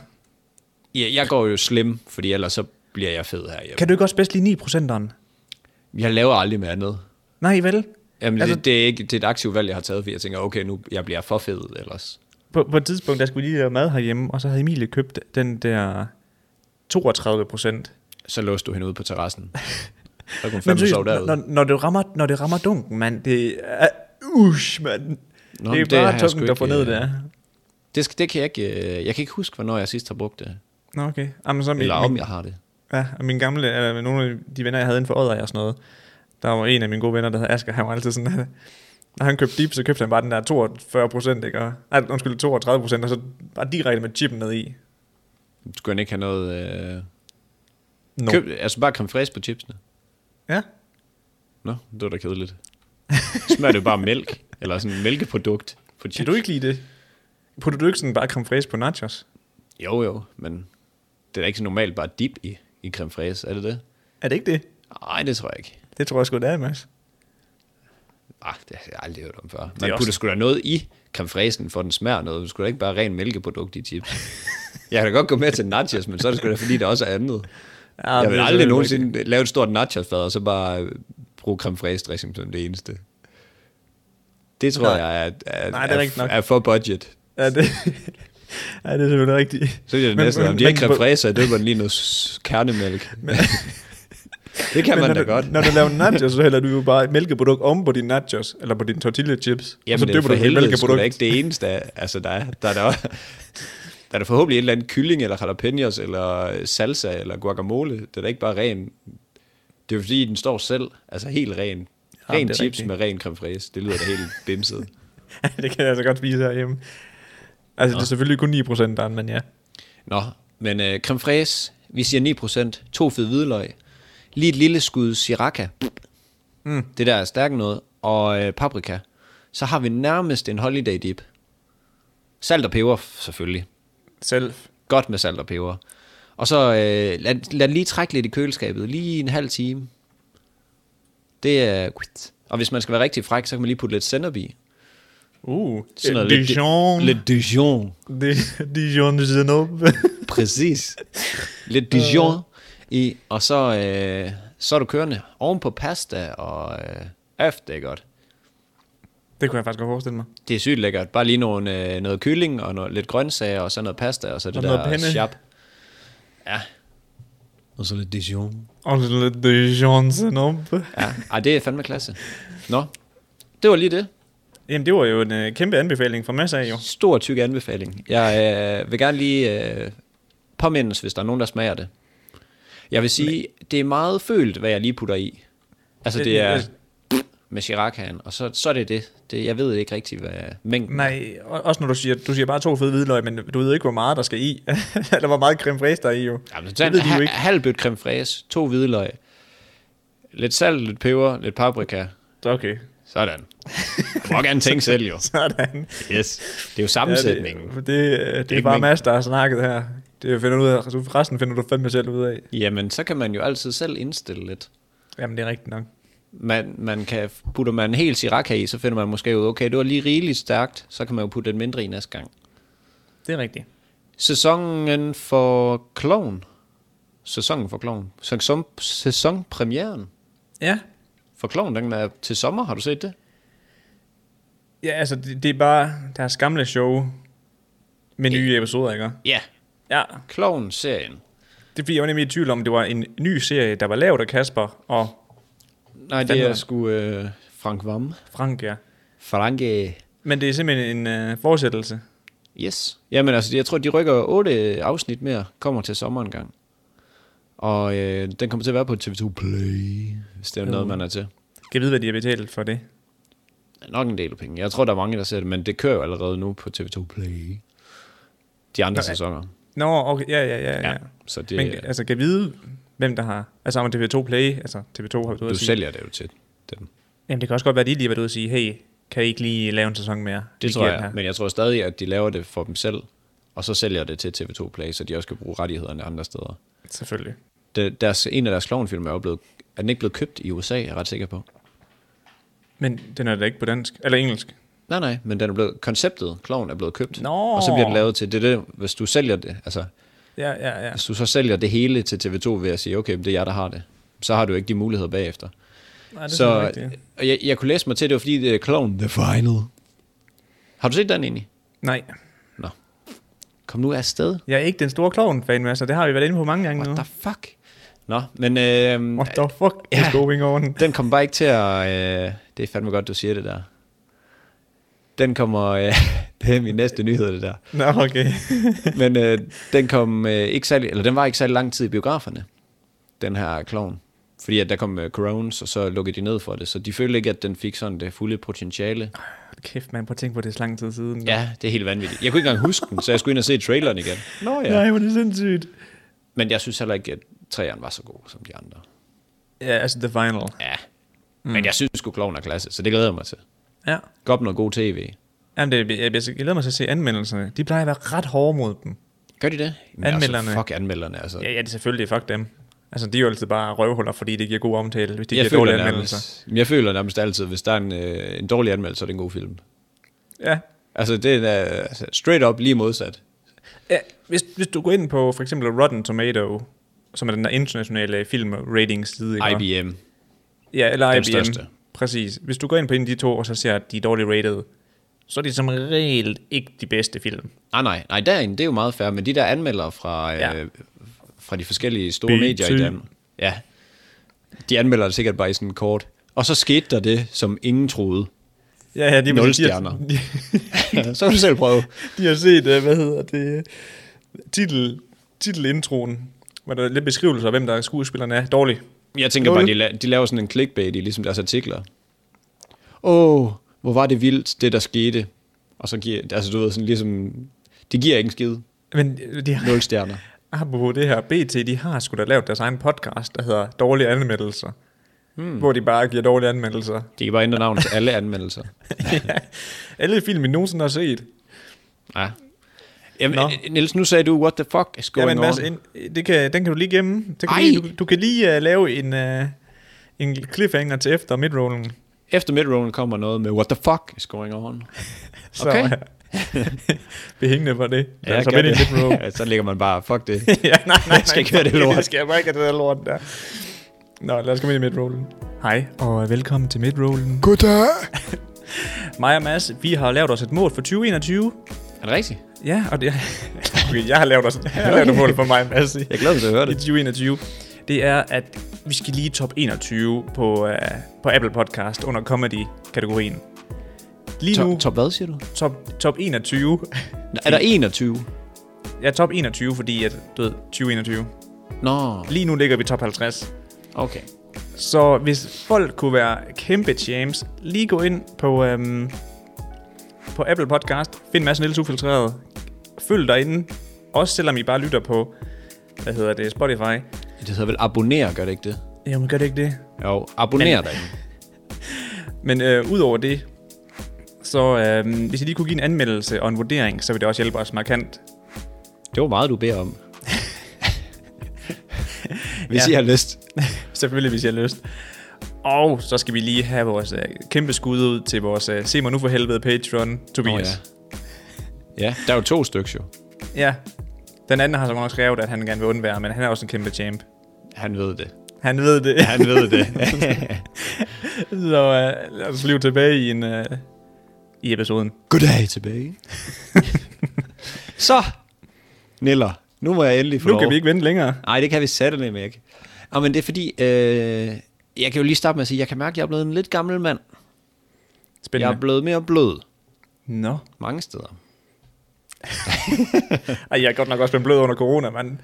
Ja, jeg går jo slim, fordi ellers så bliver jeg fed her.
Kan du ikke også bedst lide 9%'eren?
Jeg laver aldrig mere andet.
Nej, vel?
Jamen,
Altså-
altså, det, det, er ikke, det er et aktivt valg, jeg har taget, fordi jeg tænker, okay, nu jeg bliver for fed ellers.
På, på et tidspunkt, der skulle vi lige lave mad herhjemme, og så havde Emilie købt den der 32 procent.
Så låste du hende ude på terrassen. Så kunne hun
Men
fandme
seriøst,
sove derude.
når, når, det rammer, når det rammer dunken, mand, det er... Ush, mand.
Nå,
Nå, det
men det
er
har
bare
jeg
tungt,
sgu
der får
ikke,
ned
øh,
der.
Det, skal, det kan jeg ikke... øh, Jeg kan ikke huske, hvornår jeg sidst har brugt det.
Nå, okay. Jamen, så min,
Eller om
min,
jeg har det.
ja, og min gamle, eller nogle af de venner, jeg havde inden for Odder og sådan noget, der var en af mine gode venner, der hed Asger, han var altid sådan, at når han købte dip, så købte han bare den der 42 procent, ikke? Og, nej, undskyld, 32 procent, og så bare direkte med chippen ned i.
Skulle han ikke have noget... Øh...
No.
Køb, altså bare creme fraise på chipsene.
Ja.
Nå, det var da kedeligt. Smager det jo bare af mælk, eller sådan et mælkeprodukt på
Kan
chips.
du ikke lide det? Putter du ikke sådan bare creme fraise på nachos?
Jo, jo, men det er da ikke så normalt bare dip i, i creme fraise, er det det?
Er det ikke det?
Nej, det tror jeg ikke.
Det tror jeg sgu, det er, Mads.
Ah, det har jeg aldrig hørt om før.
er
Man
også-
putter sgu da noget i creme fraichen, for den smager noget. Du skulle da ikke bare ren mælkeprodukt i chips. jeg kan da godt gå med til nachos, men så er det sgu da, fordi der også er andet.
Ja,
Ja, jeg
Ah, men
vil
det er
aldrig
selvfølgelig
nogensinde lave et stort nachosfad, og så bare øh, bruge creme fraiche dressing som det eneste. Det tror
Nej.
Nej. jeg er, er,
Nej, det er
er,
rigtigt nok.
er, for budget.
Ja, det, ja, det er selvfølgelig rigtigt.
Så er det
Men-
næste, om
men-
de ikke
men-
creme fraiche, så døber den lige noget s- kernemælk. det kan
men
man
når
da
du,
godt.
Når du laver nachos, så hælder du jo bare et mælkeprodukt om på dine nachos, eller på dine tortilla chips.
Jamen,
og så
det er
dypper
for
du et
helvede sgu da
mælkeprodukt.
ikke det eneste, af- altså der er. Der er der, også- der er der forhåbentlig et eller andet kylling, eller jalapenos, eller øh, salsa, eller guacamole. Det er da ikke bare ren. Det er jo fordi, den står selv. Altså helt ren.
Ja,
Ren
det er
chips
rigtigt.
med ren creme fraiche. Det lyder da helt bimset.
det kan jeg altså godt spise herhjemme. Altså, Nå. det er selvfølgelig kun 9% der, er, men ja.
Nå, men øh, creme fraiche, vi siger 9%, to fede hvidløg, lige et lille skud siraka, mm. det der er stærkt noget, og øh, paprika. Så har vi nærmest en holiday dip. Salt og peber, f- selvfølgelig.
Selv.
Godt med salt og peber. Og så øh, lad, lad den lige trække lidt i køleskabet, lige en halv time. Det er... Og hvis man skal være rigtig fræk, så kan man lige putte lidt sennep i.
Uh,
Sådan noget lidt-
Dijon. Lidt.
Lidt Dijon.
Dijon de Zenob.
Præcis. Lidt Dijon i, og så, øh, så er du kørende oven på pasta, og øh, øft, det er godt.
Det kunne jeg faktisk godt forestille mig.
Det er sygt lækkert. Bare lige nogle, øh, noget kylling og noget, lidt grøntsager, og så noget pasta, og så det
Og
der
noget penne.
sharp. Ja. Og så lidt Dijon.
Og så lidt Dijon Zenob.
Ja, Ej, det er fandme klasse. Nå, det var lige det.
Jamen, det var jo en øh, kæmpe anbefaling fra Mads af, jo.
Stor tyk anbefaling. Jeg øh, vil gerne lige øh, påmindes, hvis der er nogen, der smager det. Jeg vil sige, det er meget følt, hvad jeg lige putter i. Altså det er med Chiracaen, og så, så er det det. det. Jeg ved ikke rigtig, hvad mængden er.
Nej, og- også når du siger, du siger bare to fede hvidløg, men du ved ikke, hvor meget der skal i. Eller hvor meget creme fraiche der er i, jo.
Jamen, så
Mm. det ved de jo
en
ikke.
ha- halv bøt creme fraise, to hvidløg, lidt salt, lidt peber, lidt paprika.
Okay,
Sådan. Du må gerne tænke selv, jo.
sådan.
Yes. Det er jo sammensætningen.
Ja, det, det, øh, det er
ikke
bare
mængden.
Mads, der har snakket her. Det finder du ud af, altså, resten finder du fandme selv ud af.
Jamen, så kan man jo altid selv indstille lidt.
Jamen, det er rigtigt nok.
man, man kan, putter man en hel siraka i, så finder man måske ud, okay, det var lige rigeligt stærkt, så kan man jo putte lidt mindre i næste gang.
Det er rigtigt.
Sæsonen for Kloven. Sæsonen for Kloven. Sæson, sæsonpremieren
Ja,
for Kloven, den er til sommer, har du set det?
ja altså, det, det er bare deres gamle show med nye episoder, ikke?
Ja.
Ja,
Kloven-serien.
det er fordi, jeg var nemlig i tvivl om, det var en ny serie, der var lavet af Kasper og
Nej, det
Fandme.
er sgu øh, Frank Vam.
Frank, ja.
Franke.
Men det er simpelthen en øh, fortsættelse.
Yes. Jamen altså, jeg tror, de rykker otte afsnit mere, kommer til sommeren gang. Og øh, den kommer til at være på TV2 Play, hvis det er noget, man er til.
Kan jeg vide, hvad de har betalt for det?
nok en del penge. Jeg tror, der er mange, der ser det, men det kører jo allerede nu på TV2 Play. De andre
Nå,
Nå, sæsoner.
Nå, okay, ja, ja, ja. ja.
Ja,
ja.
så det, øh,
Det, Men altså, kan jeg vide, hvem der har... Altså, om TV2 Play, altså TV2 har været ude
du
at sige...
sælger det jo til dem.
Jamen, det kan også godt være, at de lige har været ude at sige, hey, kan I ikke lige lave en sæson mere?
Det
Vi
tror
giver
jeg,
den her."
men jeg tror stadig, at de laver det for dem selv, og så sælger det til TV2 Play, så de også kan bruge rettighederne andre steder.
Selvfølgelig.
Det, deres, en af deres klovnfilm er jo blevet, er den ikke blevet købt i USA, er jeg ret sikker på.
Men den er da ikke på dansk. Eller engelsk.
Nej, nej, men den er blevet, konceptet, kloven er blevet købt,
Nå.
og så bliver den lavet til, det, er det, hvis du sælger det, altså
Ja, ja, ja.
Hvis du så sælger det hele til TV2 ved at sige, okay, men det er jeg, der har det, så har du ikke de muligheder bagefter.
Nej, det er
så
selvfølgelig rigtigt.
og jeg, jeg kunne læse mig til, det var fordi, det er Clown The Final. Har du set den egentlig?
Nej.
Nå. Kom nu afsted.
Jeg er ikke den store klovn fan med, så det har vi været inde på mange gange nu.
What the fuck? Nå, men øh,
What the fuck
Ja.
is going on?
den kommer bare ikke til at... Øh, det er fandme godt, du siger det der. Den kommer... Øh, det er min næste nyhed, det der.
Nå, okay.
Men øh, den kom øh, ikke særlig, eller den var ikke særlig lang tid i biograferne, den her klovn. Fordi at der kom øh, corones, og så lukkede de ned for det, så de følte ikke, at den fik sådan det fulde potentiale.
Kæft, man, prøv at tænke på det er så lang tid siden.
Ja, det er helt vanvittigt. Jeg kunne ikke engang huske den, så jeg skulle ind og se traileren igen. Nå ja.
Nej, hvor er det sindssygt.
Men jeg synes heller ikke, at træerne var så god som de andre.
Ja, altså The Final.
Ja. Mm. Men jeg synes sgu, klovn er klasse, så det glæder jeg mig til.
Ja.
Godt med noget god tv.
Jamen, det, jeg, jeg, jeg glæder mig til at se anmeldelserne. De plejer at være ret hårde mod dem.
Gør de det? Jamen,
Anmelderne.
Altså, fuck anmelderne, altså.
Ja, ja, det er selvfølgelig. Fuck dem. Altså, de er jo altid bare røvhuller, fordi det giver god omtale, hvis de
jeg,
giver
føler
dårlige anmeldelser.
nærmest, jeg føler nærmest altid, hvis der er en, øh, en dårlig anmeldelse, så er det en god film.
Ja.
Altså, det er da, altså, straight up lige modsat.
ja. Hvis, hvis du går ind på for eksempel Rotten Tomato, som er den der internationale film ratings side. ikke?
IBM.
Ja, eller
Den
IBM.
største.
Præcis. Hvis du går ind på en af de to, og så ser, at de er dårligt rated, så er de som regel ikke de bedste film.
Ah, nej, nej, derinde, det er jo meget fair, men de der anmeldere fra,
Ja.
ja. øh, fra de forskellige store
BT.
medier i Danmark, ja, de anmelder det sikkert bare i sådan en kort. Og så skete der det, som ingen troede.
Ja, ja, de,
Nul
de,
stjerner.
de,
så kan du selv prøve.
de har set, øh, hvad hedder det, titel, titelintroen, hvor der er lidt beskrivelser af, hvem der er skuespillerne er. Dårlig.
Jeg tænker bare, de, la- de laver sådan en clickbait i ligesom deres artikler. Åh, oh, hvor var det vildt, det der skete. Og så giver, altså du ved, sådan ligesom, det giver ikke en skid.
Men øh, de har,
Nul stjerner.
apropos det her, BT, de har sgu da lavet deres egen podcast, der hedder Dårlige Anmeldelser. Hmm. Hvor de bare giver dårlige anmeldelser.
De kan bare ændre navn til alle anmeldelser.
Alle film, vi nogensinde har set.
Ja. Jamen,
Nå.
no. Niels, nu sagde du, what the fuck is
Ja,
going
men
on?
Mads, en, det kan, den kan du lige gemme. Det kan
Ej!
lige, du, du kan lige uh, lave en, uh, en cliffhanger til efter midrollen.
Efter midrollen kommer noget med, what the fuck is going on?
Så
Okay.
vi er hængende på det. Altså, Ja,
jeg
så
gør
vend en
det.
midroll.
Ja, så ligger man bare, fuck det.
ja, nej, nej, nej.
Jeg skal ikke høre det
fuck
lort.
Jeg skal bare ikke have det der lort der. Nå, lad os komme ind i midrollen. Hej, og velkommen til midrollen.
Goddag.
Mig og Mads, vi har lavet os et mål for 2021.
Er det rigtigt?
Ja, og det... okay, jeg har lavet, os, jeg har lavet et mål for mig, Mads. i-
Jeg glæder mig til at høre
i
det.
2021, det er, at vi skal lige top 21 på, uh, på Apple Podcast under comedy-kategorien. Lige nu,
Top,
top,
top hvad, siger du?
top, top 21.
Nå, Er der 21?
Ja, top 21, fordi at, du ved, 2021.
Nå,
Lige nu ligger vi top 50.
okay.
Så hvis folk kunne være kæmpe champs, lige gå ind på, øhm, på Apple Podcast, find massen Niels Ufiltreret, følg derinde, også selvom I bare lytter på, hvad hedder det, Spotify.
Det hedder vel abonner, gør det ikke det?
Jamen, gør det ikke det?
Jo, abonner
Men-
dig.
Men øh, udover det, så øh, hvis I lige kunne give en anmeldelse og en vurdering, så vil det også hjælpe os markant.
Det var meget, du beder om. Hvis
Ja.
I har lyst.
Selvfølgelig, hvis I har lyst. Og så skal vi lige have vores øh, kæmpe skud ud til vores øh, Se mig nu for helvede Patreon,
Nå,
Tobias.
ja. ja, der er jo to stykker jo.
Oh, ja. ja. Den anden har så godt nok skrevet, at han gerne vil undvære, men han er også en kæmpe champ.
Han ved det.
Han ved det.
Han ved det.
så øh, lad os blive tilbage i, en, øh, i episoden.
Goddag tilbage. Så, Niller, nu må jeg endelig få
Nu
lov.
kan vi ikke vente længere.
Nej, det kan vi sætte nemlig ikke. Og, men det er fordi, øh, jeg kan jo lige starte med at sige, jeg kan mærke, at jeg er blevet en lidt gammel mand. Jeg er
Spændende.
blevet mere blød
Nå.
mange steder.
Ej, jeg er godt nok også blevet blød under corona, mand.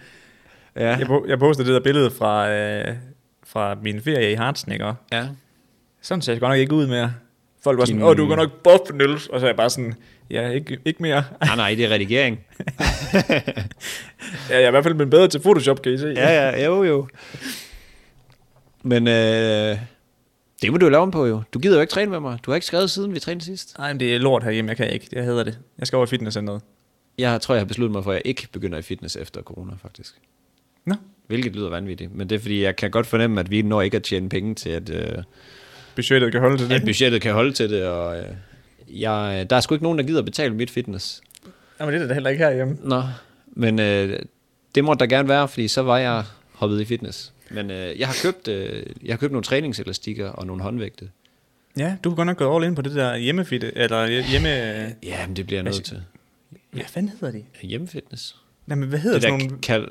Ja.
Jeg, po- jeg postede det der billede fra, øh, fra min ferie i Hartsen, ikke? Og
ja.
Sådan ser jeg godt nok ikke ud mere. Folk var sådan,
Din-
åh, du er godt nok buff, Niels. Og så er jeg bare sådan, ja, ikke, ikke mere.
Ah, nej, det er redigering.
Ja, jeg er i hvert fald blevet bedre til Photoshop, kan I se.
ja, ja, jo, jo. Men øh, det må du jo lave om på, jo. Du gider jo ikke træne med mig. Du har ikke skrevet siden vi trænede sidst.
Nej, men det er lort herhjemme, jeg kan ikke. Jeg hedder det. Jeg skal over i fitnesscenteret.
Jeg tror, jeg har besluttet mig for, at jeg ikke begynder i fitness efter corona, faktisk.
Nå,
Hvilket lyder vanvittigt. Men det er, fordi jeg kan godt fornemme, at vi når ikke at tjene penge til, at, øh,
budgettet kan holde til
at
det.
budgettet kan holde til det. Og, øh, jeg, øh, der er sgu ikke nogen, der gider betale mit fitness.
Jamen, det er det da heller ikke herhjemme.
Nå, men øh, det måtte der gerne være, fordi så var jeg hoppet i fitness. Men øh, jeg, har købt, øh, jeg har købt nogle træningselastikker og nogle håndvægte.
Ja, du har godt nok gået all in på det der hjemmefit, eller hjemme...
Ja, men det bliver jeg nødt til.
Hvad fanden hedder de?
Altså, Hjemmefitness?
Nej, men hvad hedder
Det
sådan
der
nogle...
kald...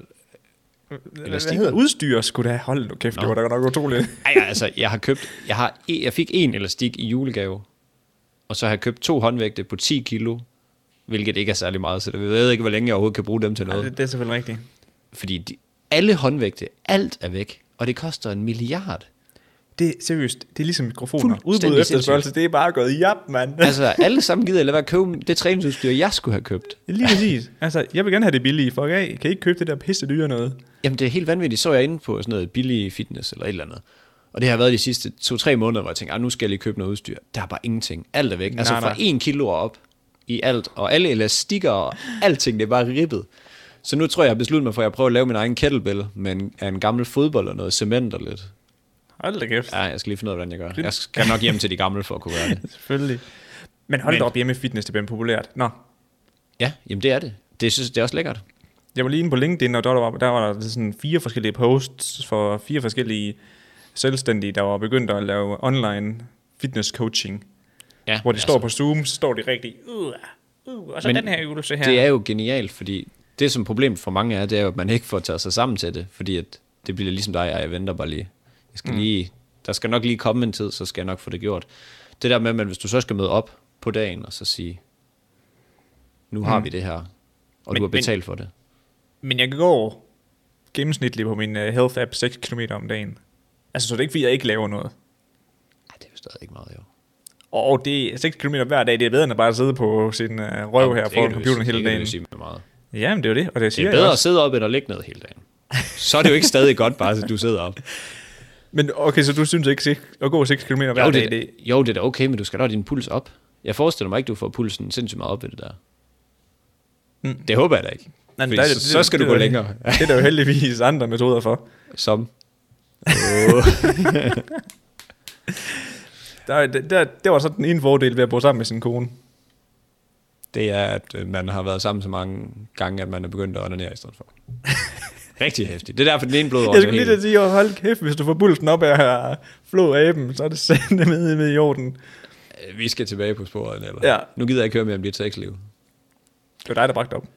Hvad
elastik.
hedder udstyr, skulle da holde nu kæft, det
Nå.
var da godt nok utroligt.
Ej, ej, altså, jeg har købt... Jeg, har, e- jeg fik en elastik i julegave, og så har jeg købt to håndvægte på 10 kilo, hvilket ikke er særlig meget, så jeg ved ikke, hvor længe jeg overhovedet kan bruge dem til
Ej,
noget.
det, det er selvfølgelig rigtigt.
Fordi de, alle håndvægte, alt er væk, og det koster en milliard.
Det, seriøst, det er ligesom mikrofoner.
Fuldstændig
Udbud efterspørgsel, det er bare gået i jap, mand.
Altså, alle sammen gider jeg lade være at købe det træningsudstyr, jeg skulle have købt.
Lige præcis. altså, jeg vil gerne have det billige. Fuck af. Kan I ikke købe det der pisse dyre noget?
Jamen, det er helt vanvittigt. Så er jeg inde på sådan noget billig fitness eller et eller andet. Og det har været de sidste to-tre måneder, hvor jeg tænkte, "Ah, nu skal jeg lige købe noget udstyr. Der er bare ingenting. Alt er væk. Altså
Nej,
fra
nej.
en kilo og op i alt. Og alle elastikker og alting, det er bare ribbet. Så nu tror jeg, jeg har besluttet mig for, at jeg prøver at lave min egen kettlebell med en, af en gammel fodbold og noget cement og lidt.
Hold da kæft.
Ja, jeg skal lige finde ud af, hvordan jeg gør. Jeg skal nok hjem til de gamle for at kunne gøre det.
Selvfølgelig. Men hold
Men-
da op, hjemme fitness, det bliver populært. Nå,
Ja, jamen det er det. Det synes det er også lækkert.
jeg var lige inde på LinkedIn, og der var, der var der sådan fire forskellige posts for fire forskellige selvstændige, der var begyndt at lave online fitness coaching.
Ja, altså-
Hvor de står på Zoom, så står de rigtig, uh, uh, og så
Men
den her øvelse her.
Det er jo genialt, fordi det som problemet for mange er, det er jo, at man ikke får taget sig sammen til det, fordi at det bliver ligesom dig, og jeg venter bare lige. Jeg skal mm. lige. Der skal nok lige komme en tid, så skal jeg nok få det gjort. Det der med, at man- hvis du så skal møde op på dagen og så sige, nu har vi det her, og
Men-
du har
men-
betalt for det.
Men jeg går gennemsnitligt på min øh, health app 6 km om dagen. Altså, så det er ikke, fordi jeg ikke laver noget.
Ej, det er jo stadig ikke meget, jo.
Og det er 6 km hver dag, det er bedre end at bare sidde på sin øh, røv her foran computeren hele dagen.
Med meget.
Jamen, det er jo det, og det
Det
siger
er
jeg
bedre at
også.
sidde op, end at ligge ned hele dagen. Så er det jo ikke stadig godt, bare at du sidder op.
Men okay, så du synes ikke, sik- at gå 6 km hver
Jo,
dag, det,
det,
det,
jo, det er da okay, men du skal da have din puls op. Jeg forestiller mig ikke, du får pulsen sindssygt meget op ved det der. Mm. Det håber jeg da ikke.
Nej,
Fordi
men der er
så,
det-
så skal
det-
du gå
det-
længere.
det er der jo heldigvis andre metoder for.
Som.
Der, der, der, det var så den ene fordel ved at bo sammen med sin kone.
Det er, at øh, man har været sammen så mange gange, at man er begyndt at onanere i stedet for. Rigtig hæftigt. Det er derfor, den ene blod
Jeg skulle lige til at sige, oh, hold kæft, hvis du får bulten op af her flå aben, så er det sandt med, med i orden.
Vi skal tilbage på sporet, eller?
Ja.
Nu gider jeg ikke høre mere om dit sexliv.
Det var dig, der bragte det op.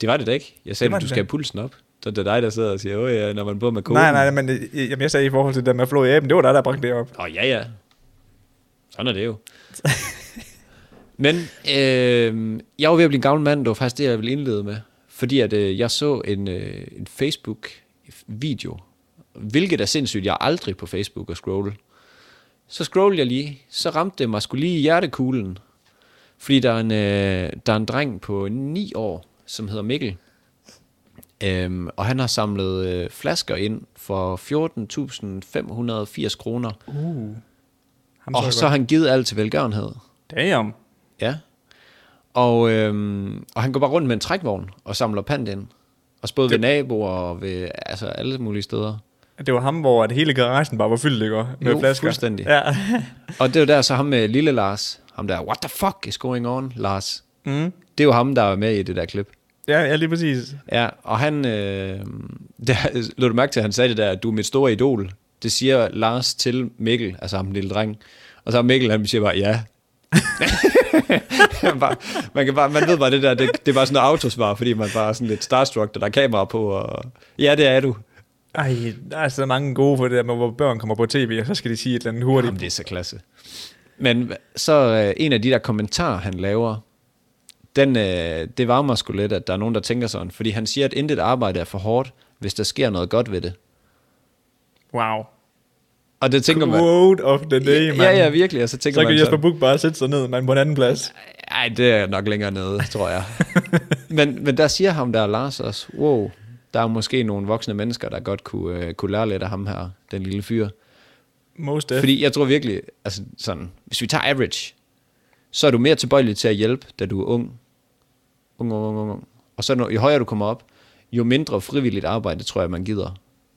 Det var det da ikke. Jeg
Det
sagde,
var
at du
det
skal
da.
have pulsen op. Så det er dig, der sidder og siger, åh ja, når man bor med konen.
Nej, nej, men øh, jamen, jeg sagde i forhold til det der med flå i aben, det var dig, der bragte det op.
Åh, oh, ja, ja. Sådan er det jo. Men øh, jeg var ved at blive en gammel mand, det var faktisk det, jeg ville indlede med. Fordi at øh, jeg så en, øh, en Facebook-video, hvilket er sindssygt, jeg er aldrig på Facebook og scrolle. Så scrollede jeg lige, så ramte det mig skulle lige i hjertekuglen. Fordi der er en, øh, der er en dreng på 9 år, som hedder Mikkel. Øhm, og han har samlet øh, flasker ind for 14.580 kroner.
Uh. Ham
Og så har han givet alt til velgørenhed.
Damn.
Ja. Og, øhm, og han går bare rundt med en trækvogn og samler pant ind. Og både det... ved naboer og ved altså, alle mulige steder.
Det var ham, hvor at hele garagen bare var fyldt, ikke? også? Med
Jo,
flasker.
fuldstændig.
Ja.
Og det er jo der så ham med lille Lars. Ham der, what the fuck is going on, Lars?
mm.
Det er jo ham, der er med i det der klip.
ja, ja, lige præcis.
Ja, og han... Øh, der, lå du mærke til, at han sagde det der, du er mit store idol. Det siger Lars til Mikkel, altså ham den lille dreng. Og så har Mikkel, han siger bare, ja. man, bare, man, kan bare, man ved bare det der, det, det er bare sådan noget autosvar, fordi man bare er sådan lidt starstruck, og der er kamera på, og ja, det er du.
Ej, der er så mange gode for det der med, hvor børn kommer på tv, og så skal de sige et eller andet hurtigt.
Jamen, det er så klasse. Men så øh, en af de der kommentarer, han laver, den, øh, det varmer sgu lidt, at der er nogen, der tænker sådan, fordi han siger, at intet arbejde er for hårdt, hvis der sker noget godt ved det.
Wow.
Og det tænker man,
Quote of the day,
ja,
man.
ja, ja, virkelig. Og så tænker
Så kan
man
Jesper
sådan,
Buch bare sætte sig ned, man på en anden plads.
ej, det er nok længere nede, tror jeg. men, men der siger ham der, Lars også, wow, der er måske nogle voksne mennesker, der godt kunne, øh, kunne lære lidt af ham her, den lille fyr.
Most def.
Fordi jeg tror virkelig, altså sådan, hvis vi tager average, så er du mere tilbøjelig til at hjælpe, da du er ung. Ung, ung, ung, ung, ung. Og så når, jo højere du kommer op, jo mindre frivilligt arbejde, tror jeg, man gider.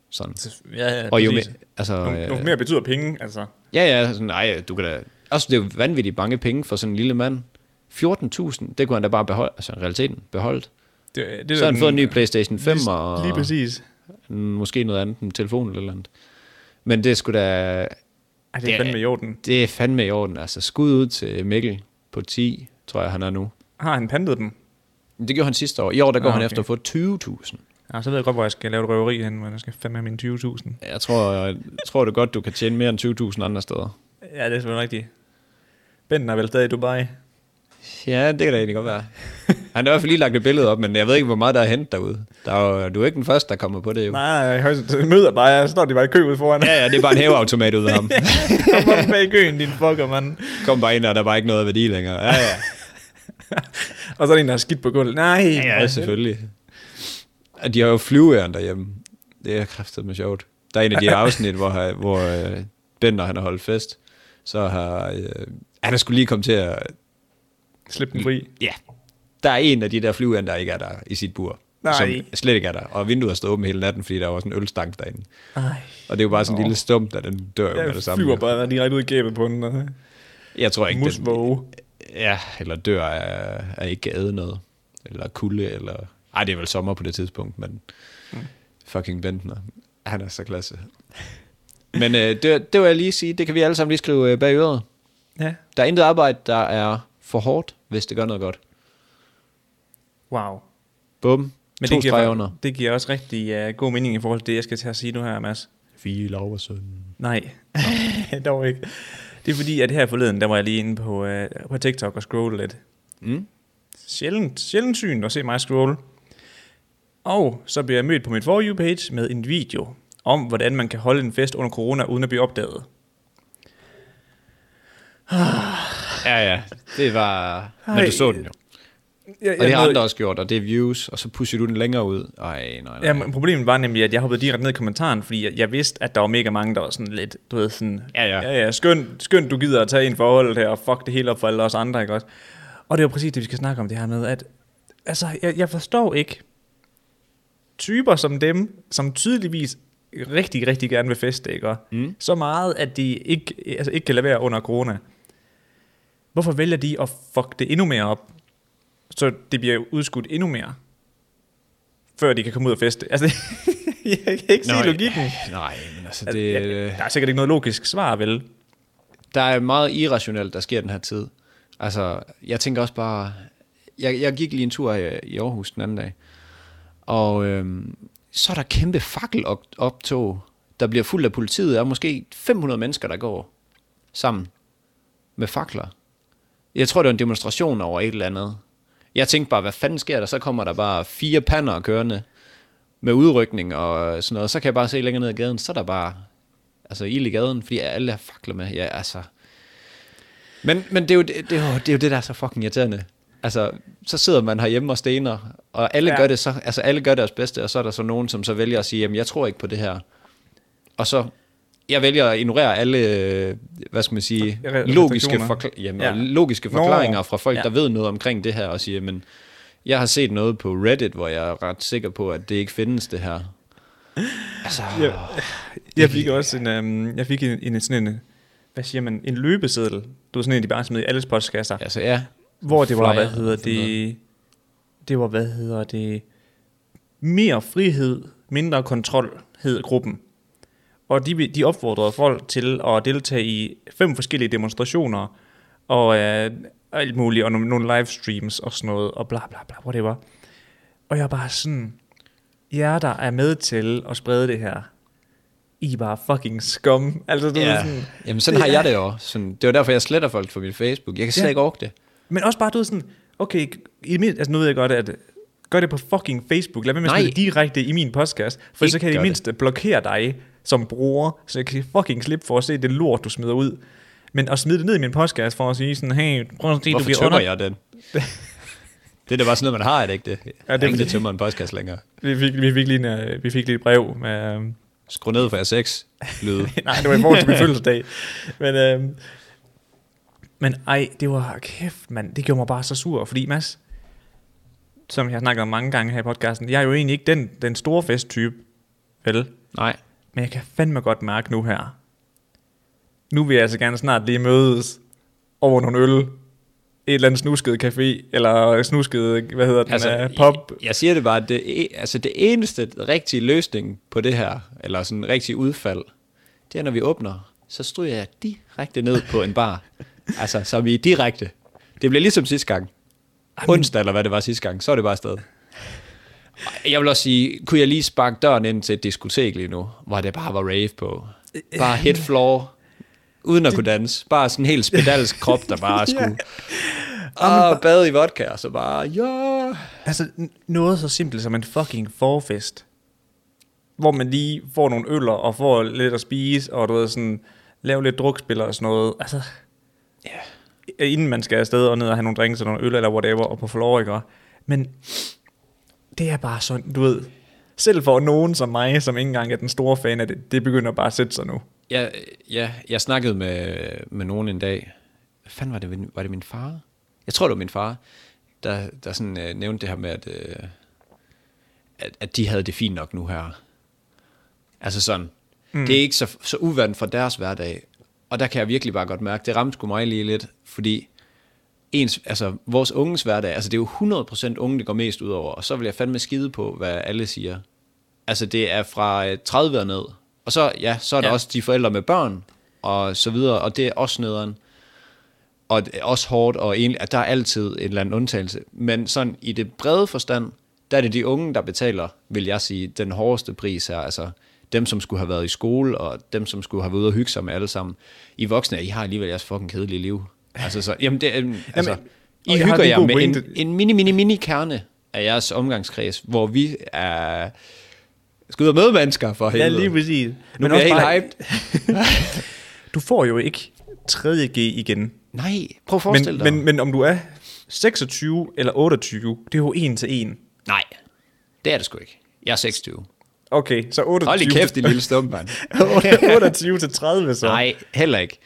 Sådan.
Ja, ja,
Og jo mere,
præcis.
altså,
Nu- nu
øh,
mere betyder penge, altså.
Ja, ja, sådan, nej, du kan da... Også det er jo vanvittigt mange penge for sådan en lille mand. 14.000, det kunne han da bare beholde, altså i realiteten beholdt.
Det,
Det
det
så har han fået en ny
plan.
Playstation 5 og
Lige præcis.
en- måske noget andet, en telefon eller noget andet. Men det skulle da...
Ej, det
Det
er
er-
fandme i orden.
Det er fandme i orden, altså. Skud ud til Mikkel på 10, tror jeg, han er nu.
Har han pantet dem?
Men Det gjorde han sidste år. I år, der
Ah,
går ah, han
okay.
efter at få 20.000.
Ja, så ved jeg godt, hvor jeg skal lave et røveri hen, men jeg skal fandme have mine 20.000.
Jeg tror, jeg tror det godt, du kan tjene mere end 20.000 andre steder.
Ja, det er selvfølgelig rigtigt. Benden er vel stadig i Dubai.
Ja, det kan da egentlig godt være. Han har i hvert fald lige lagt et billede op, men jeg ved ikke, hvor meget der er hentet derude. Der er jo, du er ikke den første, der kommer på det jo.
Nej, højst møder bare, jeg står de bare i kø ude foran.
Ja, ja, det er bare en hæveautomat ud af ham.
Kom op bag køen, din fucker, mand.
Kom bare ind, og der var ikke noget værdi længere. Ja, ja,
Og så er der en, der har skidt på gulvet. Nej,
ja, ja selvfølgelig. Og de har jo flyveæren derhjemme. Det er kraftedeme sjovt. Der er en af de afsnit, hvor, hvor øh, Bender han har holdt fest. Så har... Øh, han er skulle lige komme til at...
Slip den fri.
Ja. Der er en af de der flyveæren, der ikke er der i sit bur.
Nej.
som slet ikke er der. Og vinduet står åbent hele natten, fordi der var sådan en ølstank derinde.
Ej.
Og det er jo bare sådan en lille stump, der den dør jo med
Jeg
det
flyver
samme.
bare direkte ud i gæbet på øh, den. og-
Jeg tror ikke, den,
Musvåge.
ja, eller dør er, er ikke æde noget. Eller kulde, eller... Ej, det er vel sommer på det tidspunkt, men
Mm.
fucking Bentner. Han er så klasse. Men øh, det, det vil jeg lige sige, det kan vi alle sammen lige skrive øh, bag øret.
Ja.
Der er intet arbejde, der er for hårdt, hvis det gør noget godt.
Wow.
Bum. Men to
det,
streger
giver,
under.
det giver også rigtig uh, god mening i forhold til det, jeg skal til at sige nu her, Mads.
Fie Laversen.
Nej, dog ikke. Det er fordi, at her forleden, der var jeg lige inde på, øh, på TikTok og scrolle lidt.
Mm.
Sjældent, sjældent syn at se mig scrolle. Og så bliver jeg mødt på mit For You-page med en video om, hvordan man kan holde en fest under corona, uden at blive opdaget.
Ja, ja. Det var...
Ej.
Men du så den jo.
Ja,
Og det har andre også gjort, og det er views, og så pusher du den længere ud. Ej, nej, nej.
Ja, men problemet var nemlig, at jeg hoppede direkte ned i kommentaren, fordi jeg, jeg vidste, at der var mega mange, der var sådan lidt, du ved, sådan,
Ja, ja.
ja, ja skønt, skønt, du gider at tage en forhold her, og fuck det hele op for alle os andre, ikke også? Og det er jo præcis det, vi skal snakke om det her med, at, altså, jeg, jeg forstår ikke typer som dem, som tydeligvis rigtig, rigtig gerne vil feste, ikke? Mm. Så meget, at de ikke, altså, ikke kan lade være under corona. Hvorfor vælger de at fuck det endnu mere op, så det bliver udskudt endnu mere? før de kan komme ud og feste. Altså, jeg kan ikke se
Nej.
logikken.
Nej, men altså,
Altså,
det,
jeg- Der er sikkert ikke noget logisk svar, vel?
der er meget irrationelt, der sker den her tid. Altså, jeg tænker også bare... Jeg, jeg gik lige en tur i, i Aarhus den anden dag, og øhm, så er der kæmpe fakkeloptog, der bliver fuldt af politiet. Der er måske 500 mennesker, der går sammen med fakler. Jeg tror, det var en demonstration over et eller andet. Jeg tænkte bare, hvad fanden sker der? Så kommer der bare fire pander kørende med udrykning og sådan noget. Så kan jeg bare se længere ned ad gaden, så er der bare altså, ild i gaden, fordi alle har fakler med. Ja, altså. Men, men det, er jo, det, det, er jo, det er jo det, der er så fucking irriterende. Altså, så sidder man herhjemme og stener, og alle,
Ja.
ja. gør det så, altså, alle gør deres bedste, og så er der så nogen, som så vælger at sige, jamen, jeg tror ikke på det her. Og så, jeg vælger at ignorere alle, øh, hvad skal man sige,
Re- refleksioner.
logiske, forkla- jamen,
Ja.
ja. logiske
Nå.
forklaringer fra folk,
Ja.
ja. der ved noget omkring det her, og siger, men jeg har set noget på Reddit, hvor jeg er ret sikker på, at det ikke findes, det her. Altså,
Ja. Jeg fik også en, øhm, jeg fik en, en sådan en, hvad siger man, en løbeseddel. Du var sådan en, de bare smed i alles postkasser. Ja.
altså ja.
Hvor det var,
Flyer
hvad hedder
og sådan
det, det var, hvad hedder det, mere frihed, mindre kontrol, hed gruppen. Og de, de opfordrede folk til at deltage i fem forskellige demonstrationer, og øh, alt muligt, og nogle, nogle livestreams og sådan noget, og bla bla bla, whatever. Og jeg er bare sådan, jer der er med til at sprede det her, I er bare fucking skum. Altså, du yeah.
Ja.
sådan,
Jamen sådan har jeg det jo. også. Sådan, det var derfor, jeg sletter folk fra min Facebook. Jeg kan slet
Ja.
ja. ikke orke det.
men også bare, du ved sådan, okay, i min, altså nu ved jeg godt, at gør det på fucking Facebook. Lad være med at
Nej.
smide det direkte i min podcast, for
Ikke
så kan jeg i
gør
det
det.
mindste blokere dig som bruger, så jeg kan fucking slippe for at se det lort, du smider ud. Men at smide det ned i min podcast for at sige sådan, hey, prøv at se, du
Hvorfor
bliver
tømmer
under...
jeg den? Det er da bare sådan noget, man har, er det ikke det? Ja, det er ikke det tømmer en podcast længere.
Vi fik, vi fik lige, en, øh, vi fik lige et brev med... øhm,
Skru ned for R6. Lyde.
Nej, det var i forhold til min fødselsdag. Men, øhm, men ej, det var kæft, mand. Det gjorde mig bare så sur, fordi Mads, som jeg har snakket om mange gange her i podcasten, jeg er jo egentlig ikke den, den store festtype, vel?
Nej.
Men jeg kan fandme godt mærke nu her. Nu vil jeg altså gerne snart lige mødes over nogle øl, et eller andet snusket café, eller snusket, hvad hedder den, altså, pop.
Jeg, jeg siger det bare, at det, e- altså det eneste rigtige løsning på det her, eller sådan en rigtig udfald, det er, når vi åbner, så stryger jeg direkte ned på en bar. altså, så er vi direkte. Det bliver ligesom sidste gang. Onsdag, eller hvad det var sidste gang, så er det bare afsted. Jeg vil også sige, kunne jeg lige sparke døren ind til et diskotek lige nu, hvor det bare var rave på. Bare hit floor, uden at kunne danse. Bare sådan en helt spedalsk krop, der bare skulle... Og bade i vodka, og så bare, ja,
Altså, n- noget så simpelt som en fucking forfest. Hvor man lige får nogle øller og får lidt at spise, og du ved, sådan, lave lidt drukspil og sådan noget. Altså, yeah. inden man skal afsted og ned og have nogle drinks og nogle øl eller whatever, og på floor, ikke? Men det er bare sådan, du ved, selv for nogen som mig, som ikke engang er den store fan af det, det begynder bare at sætte sig nu.
Ja, ja, jeg snakkede med, med nogen en dag. Hvad fanden var det? min- Var det min far? Jeg tror, det var min far, der, der sådan, øh, nævnte det her med, at... Øh, at, at de havde det fint nok nu her. Altså sådan. Mm. Det er ikke så, så uvandt for deres hverdag. Og der kan jeg virkelig bare godt mærke, det ramte sgu mig lige lidt, fordi ens, altså, vores unges hverdag, altså det er jo 100% unge, det går mest ud over, og så vil jeg fandme skide på, hvad alle siger. Altså det er fra øh, 30 og ned. Og så, ja, så er der
Ja.
ja. også de forældre med børn, og så videre, og det er også nederen. Og det er også hårdt, og egentlig, at der er altid en eller anden undtagelse. Men sådan i det brede forstand, der er det de unge, der betaler, vil jeg sige, den hårdeste pris her. Altså dem, som skulle have været i skole, og dem, som skulle have været ude og hygge sig med alle sammen. I voksne, I har alligevel jeres fucking kedelige liv. Altså, så, jamen det, øhm, altså,
Jamen, og
I
jeg har
hygger
en
jer
god
med en,
pointe.
en mini, mini, mini kerne af jeres omgangskreds, hvor vi er... Skal ud og møde mennesker for helvede.
præcis.
Nu bliver jeg helt hyped.
Du får jo ikke 3.G igen.
Nej, prøv at forestille
Men,
dig.
men, men om du er 26 eller 28, det er jo en til en.
Nej, det er det sgu ikke. Jeg er 26.
Okay, så 28,
Hold i kæft, din lille stump, mand.
28 til 30 så.
Nej, heller ikke.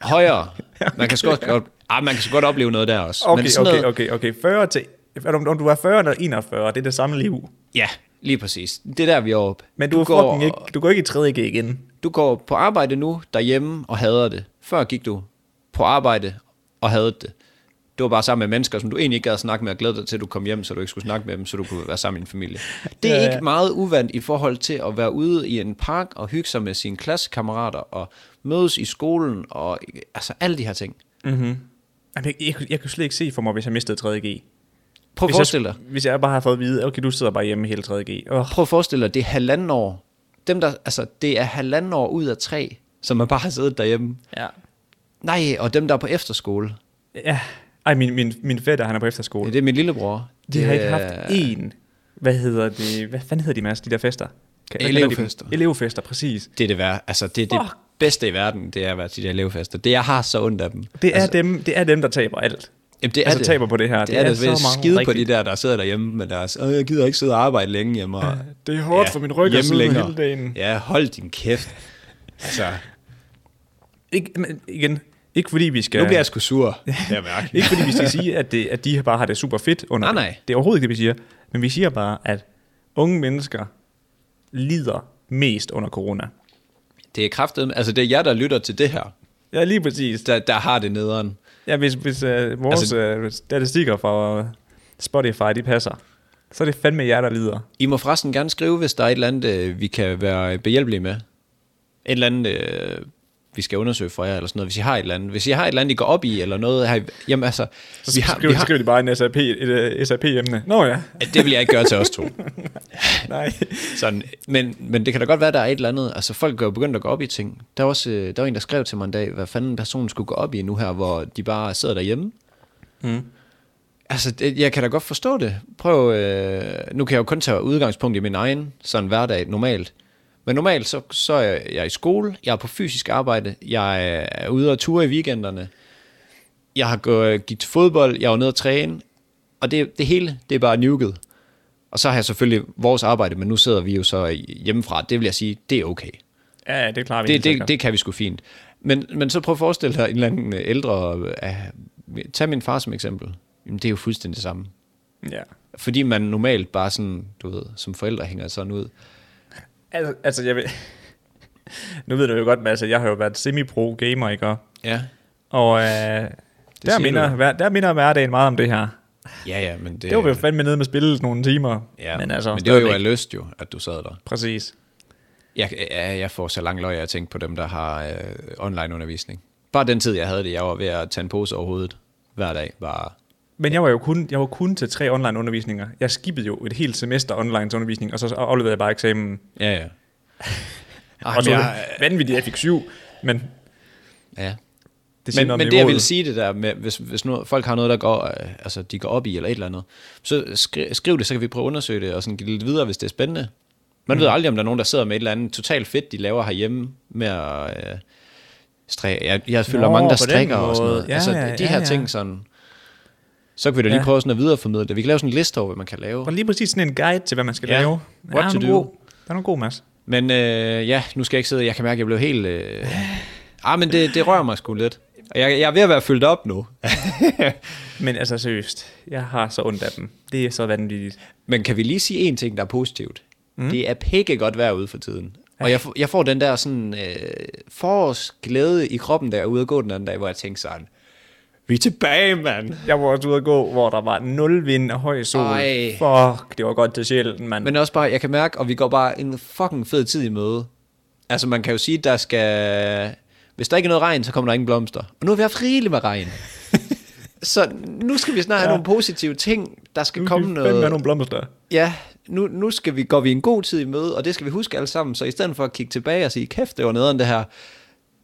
Højere. Man kan sgu også godt, ah, man kan sgu godt opleve noget der også.
Okay,
men sådan
okay,
noget,
okay, okay. 40 til, er du- om du er 40 eller 41, det er det samme liv.
Ja, lige præcis. Det er der, vi er oppe.
Men du, du, går, fucking ikke, du går ikke i 3.G igen.
du går på arbejde nu, derhjemme, og hader det. Før gik du på arbejde og hadede det. Det var bare sammen med mennesker, som du egentlig ikke gad at snakke med, og glædede dig til, at du kom hjem, så du ikke skulle snakke med dem, så du kunne være sammen med din familie. Det
Ja,
er ja,
ja.
ja. ikke meget uvandt i forhold til at være ude i en park og hygge sig med sine klassekammerater og mødes i skolen og altså alle de her ting.
Jamen, jeg, jeg, jeg kunne slet ikke se for mig, hvis jeg mistede 3.G.
Prøv at
Hvis
forestille dig.
jeg, hvis jeg bare har fået at vide, okay, du sidder bare hjemme hele 3.G. Oh,
Prøv at forestille dig, det er halvanden år. Dem der, altså, det er halvanden år ud af tre, som man bare har siddet derhjemme.
ja.
Nej, og dem der er på efterskole.
ja. Ej, min, min, min fætter, han er på efterskole.
Ja, det er min lillebror.
De har ikke
er-
haft én, hvad hedder det, hvad fanden hedder de, Mads, de der fester? Kan- hvad
Elevfester.
kalder de dem? Elevfester, præcis.
Det er det værd. Altså, det er det
Fuck.
bedste i verden, det er at være til de der elevfester. Det, jeg har så ondt af dem.
Det er,
altså,
dem, det er dem, der taber alt.
jamen, det er
altså,
det.
taber på det her.
Det, det er, er det,
så mange
skide på de
rigtigt.
der, der sidder derhjemme med deres, Åh, jeg gider ikke sidde og arbejde længe hjemme. Og,
Det er hårdt for min ryg at
hjemme
sidde
længere.
hele dagen.
Ja, hold din kæft. Altså,
Ikke, men igen, ikke fordi vi skal...
nu bliver jeg sgu sur. Det er mærkeligt.
ikke fordi vi skal sige, at, det, at de bare har det super fedt under
Nej,
det.
nej.
Det er overhovedet ikke det, vi siger. Men vi siger bare, at unge mennesker lider mest under corona.
Det er kraftedeme. Altså, det er jer, der lytter til det her,
Ja, lige præcis.
der, der har det nederen.
Ja, hvis, hvis øh, vores altså,
Altså-
øh, statistikker fra øh, Spotify, de passer, så er det fandme jer, der lider.
I må forresten gerne skrive, hvis der er et eller andet, øh, vi kan være behjælpelige med. Et eller andet, øh, vi skal undersøge for jer, eller sådan noget. Hvis I har et eller andet, hvis I har et eller andet, I går op i, eller noget, har I, jamen altså,
Så
vi
skriv,
har,
skriv,
vi har,
skriv de bare en SAP, et, øh, SAP-emne. Nå ja,
at det vil jeg ikke gøre til os to.
nej.
Sådan, men, men det kan da godt være, der er et eller andet. Altså, folk er jo begyndt at gå op i ting. Der var, også, øh, der var en, der skrev til mig en dag, hvad fanden personen skulle gå op i nu her, hvor de bare sidder derhjemme. Mm. Altså, det, jeg kan da godt forstå det. Prøv, øh, nu kan jeg jo kun tage udgangspunkt i min egen sådan hverdag normalt. Men normalt, så, så er jeg- jeg er i skole, jeg er på fysisk arbejde, jeg er ude og ture i weekenderne, jeg har gået, øh, gik til fodbold, jeg var nede og træne, og det, det hele, det er bare nuket. Og så har jeg selvfølgelig vores arbejde, men nu sidder vi jo så hjemmefra. Det vil jeg sige, det er okay.
Ja, ja, det klarer vi
Det,
helt
det,
sikkert.
det kan vi sgu fint. Men, men så prøv at forestille dig en eller anden øh, ældre... Uh, tag min far som eksempel. Jamen, det er jo fuldstændig det samme.
Ja.
Fordi man normalt bare sådan, du ved, som forældre hænger sådan ud.
Altså, altså, jeg ved... Nu ved du jo godt, Mads, at jeg har jo været semi-pro gamer, ikke?
Ja.
Og øh, der,
du.
minder, hver, der minder hverdagen meget om det her.
Ja, ja, men det...
Det var vi jo fandme nede med spillet nogle timer.
ja,
men altså,
men det var jo af
stadigvæk.
lyst jo, at du sad der.
Præcis.
Jeg, jeg, jeg får så lang løg, jeg tænker på dem, der har øh, onlineundervisning. Bare den tid, jeg havde det, jeg var ved at tage en pose over hovedet hver dag. Bare
Men jeg var jo kun, jeg var kun til tre online undervisninger. Jeg skippede jo et helt semester online undervisning, og så afleverede jeg bare eksamen.
Ja, ja. Ej,
og så
men
var
jeg-
det vanvittigt, jeg fik syv, men
ja.
det siger
Men,
noget om
men det, jeg
niveauet.
vil sige det der med, hvis, hvis nu, folk har noget, der går, øh, altså, de går op i eller et eller andet, så skri, skriv det, så kan vi prøve at undersøge det og sådan give det lidt videre, hvis det er spændende. Man mm. ved aldrig, om der er nogen, der sidder med et eller andet totalt fedt, de laver herhjemme med at øh, strikke. Jeg, jeg føler,
Nå,
Nå, mange, der
på den
strikker og sådan
måde.
noget.
Ja,
altså,
ja,
de
ja,
her
ja.
ting sådan... Så kan vi da lige
Ja.
prøve sådan at videreformidle det. Vi kan lave sådan en liste over, hvad man kan lave.
Og lige præcis sådan en guide til, hvad man skal
Ja.
lave.
What
Ja,
to
den er
do.
god. Den er god, Mads.
Men øh, ja, nu skal jeg ikke sidde. Jeg kan mærke, at jeg blev helt... Øh... Ah, men det, det rører mig sgu lidt. Og jeg, jeg er ved at være fyldt op nu.
Men altså seriøst, jeg har så ondt af dem. Det er så vanvittigt.
Men kan vi lige sige en ting, der er positivt? Mm. Det er pikke godt vejr ude for tiden. Og jeg, får- jeg får den der sådan øh, forårsglæde i kroppen, der er ude at gå den anden dag, hvor jeg tænker sådan, vi er tilbage, mand.
Jeg var også ude at gå, hvor der var nul vind og høj sol.
Ej.
Fuck, det var godt til sjælen, mand. Men...
Men også bare, jeg kan mærke, og vi går bare en fucking fed tid i møde. Altså man kan jo sige, der skal... Hvis der ikke er noget regn, så kommer der ingen blomster. Og nu har vi haft rigeligt med regn. så nu skal vi snart have ja. nogle positive ting, der skal komme noget...
Med nogle blomster.
Ja, nu, nu skal vi, går vi en god tid i møde, og det skal vi huske alle sammen. Så i stedet for at kigge tilbage og sige, kæft, det var nederen det her,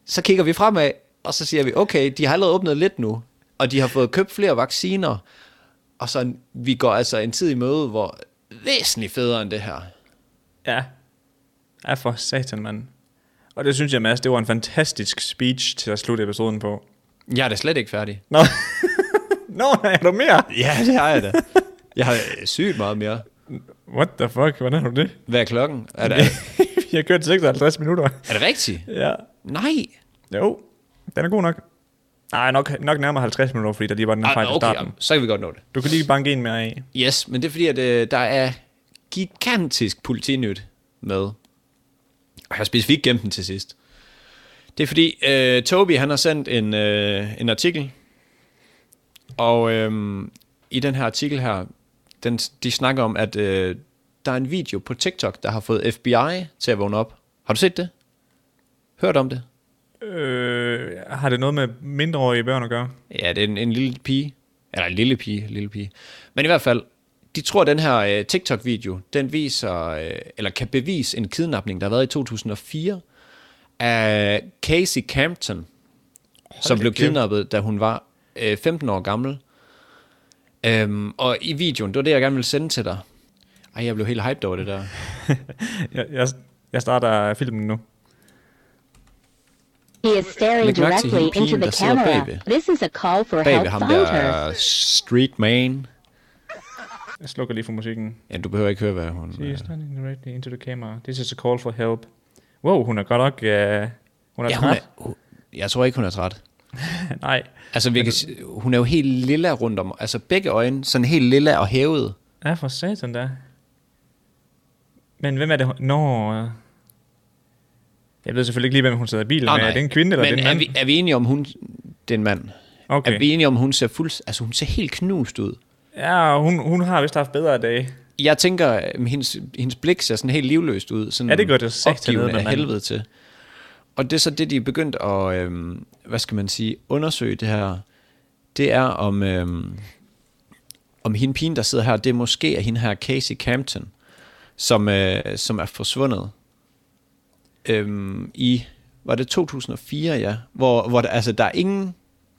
så kigger vi fremad, og så siger vi, okay, de har allerede åbnet lidt nu, og de har fået købt flere vacciner, og så vi går altså en tid i møde, hvor væsentligt federe end det her.
Ja. Ja, for satan, mand. Og det synes jeg, Mads, det var en fantastisk speech til at slutte episoden på.
Jeg er da slet ikke færdig.
Nå, Nå er du mere?
Ja, det har jeg da. Jeg har øh, sygt meget mere.
What the fuck, hvordan har du det?
Hvad er klokken? Er det, er
Vi har kørt 56 minutter.
det rigtigt?
Ja.
Nej.
Jo, den er god nok. Nej, nok, nok nærmere 50 minutter, fordi der lige var den her fejl i
Ah, okay,
starten.
så kan vi godt nå det.
Du kan lige banke en mere af.
Yes, men det er fordi, at øh, der er gigantisk politinyt med. Og jeg har specifikt gemt den til sidst. Det er fordi, øh, Toby han har sendt en, øh, en artikel, og øh, i den her artikel her, den, de snakker om, at øh, der er en video på TikTok, der har fået FBI til at vågne op. Har du set det? Hørt om det?
Øh, har det noget med mindreårige børn at gøre?
Ja, det er en, en lille pige. Eller en lille pige, lille pige. Men i hvert fald, de tror, at den her øh, TikTok-video, den viser, øh, eller kan bevise en kidnapning, der har været i 2004, af Casey Campton, som
da
blev
kæft.
kidnappet, da hun var øh, 15 år gammel. Øhm, og i videoen, det var det, jeg gerne ville sende til dig. Ej, jeg blev helt hyped over det der.
Jeg, jeg, jeg starter filmen nu.
He is staring
Læg mærke til
directly
hende,
into
pigen, der
the
sidder
camera.
bagved.
This is a call for
Bag ved
help
ham der
fighters.
er street man.
Jeg slukker lige for musikken.
Ja, du behøver ikke høre, hvad hun... øh,
She is standing directly into the camera. This is a call for help. Wow, hun er godt nok... Øh, hun er
Ja, hun er,
træt.
hun, jeg tror ikke, hun er træt.
Nej.
Altså, vi kan, s- hun er jo helt lilla rundt om, altså begge øjne, sådan helt lilla og hævet.
Ja, for satan da. Men hvem er det? hun- Nå... øh. Jeg ved selvfølgelig ikke lige, hvem hun sidder i bilen med. Er det en kvinde eller er
Men
det en mand?
Er vi, er vi enige om, hun... Det er en mand.
Okay.
Er vi enige om, hun ser fuld... Altså, hun ser helt knust ud.
Ja, hun, hun har vist haft bedre dage.
Jeg tænker, at hendes, hendes blik ser sådan helt livløst ud. Sådan
Ja, det gør det satan
opgivende
ned med
af
manden.
helvede til. Og det er så det, de er begyndt at, øhm, hvad skal man sige, undersøge det her. Det er om, øhm, om hende pigen, der sidder her, det er måske er hende her Casey Campton, som, øh, som er forsvundet øhm, i, var det 2004, ja, hvor, hvor der, altså, der er ingen,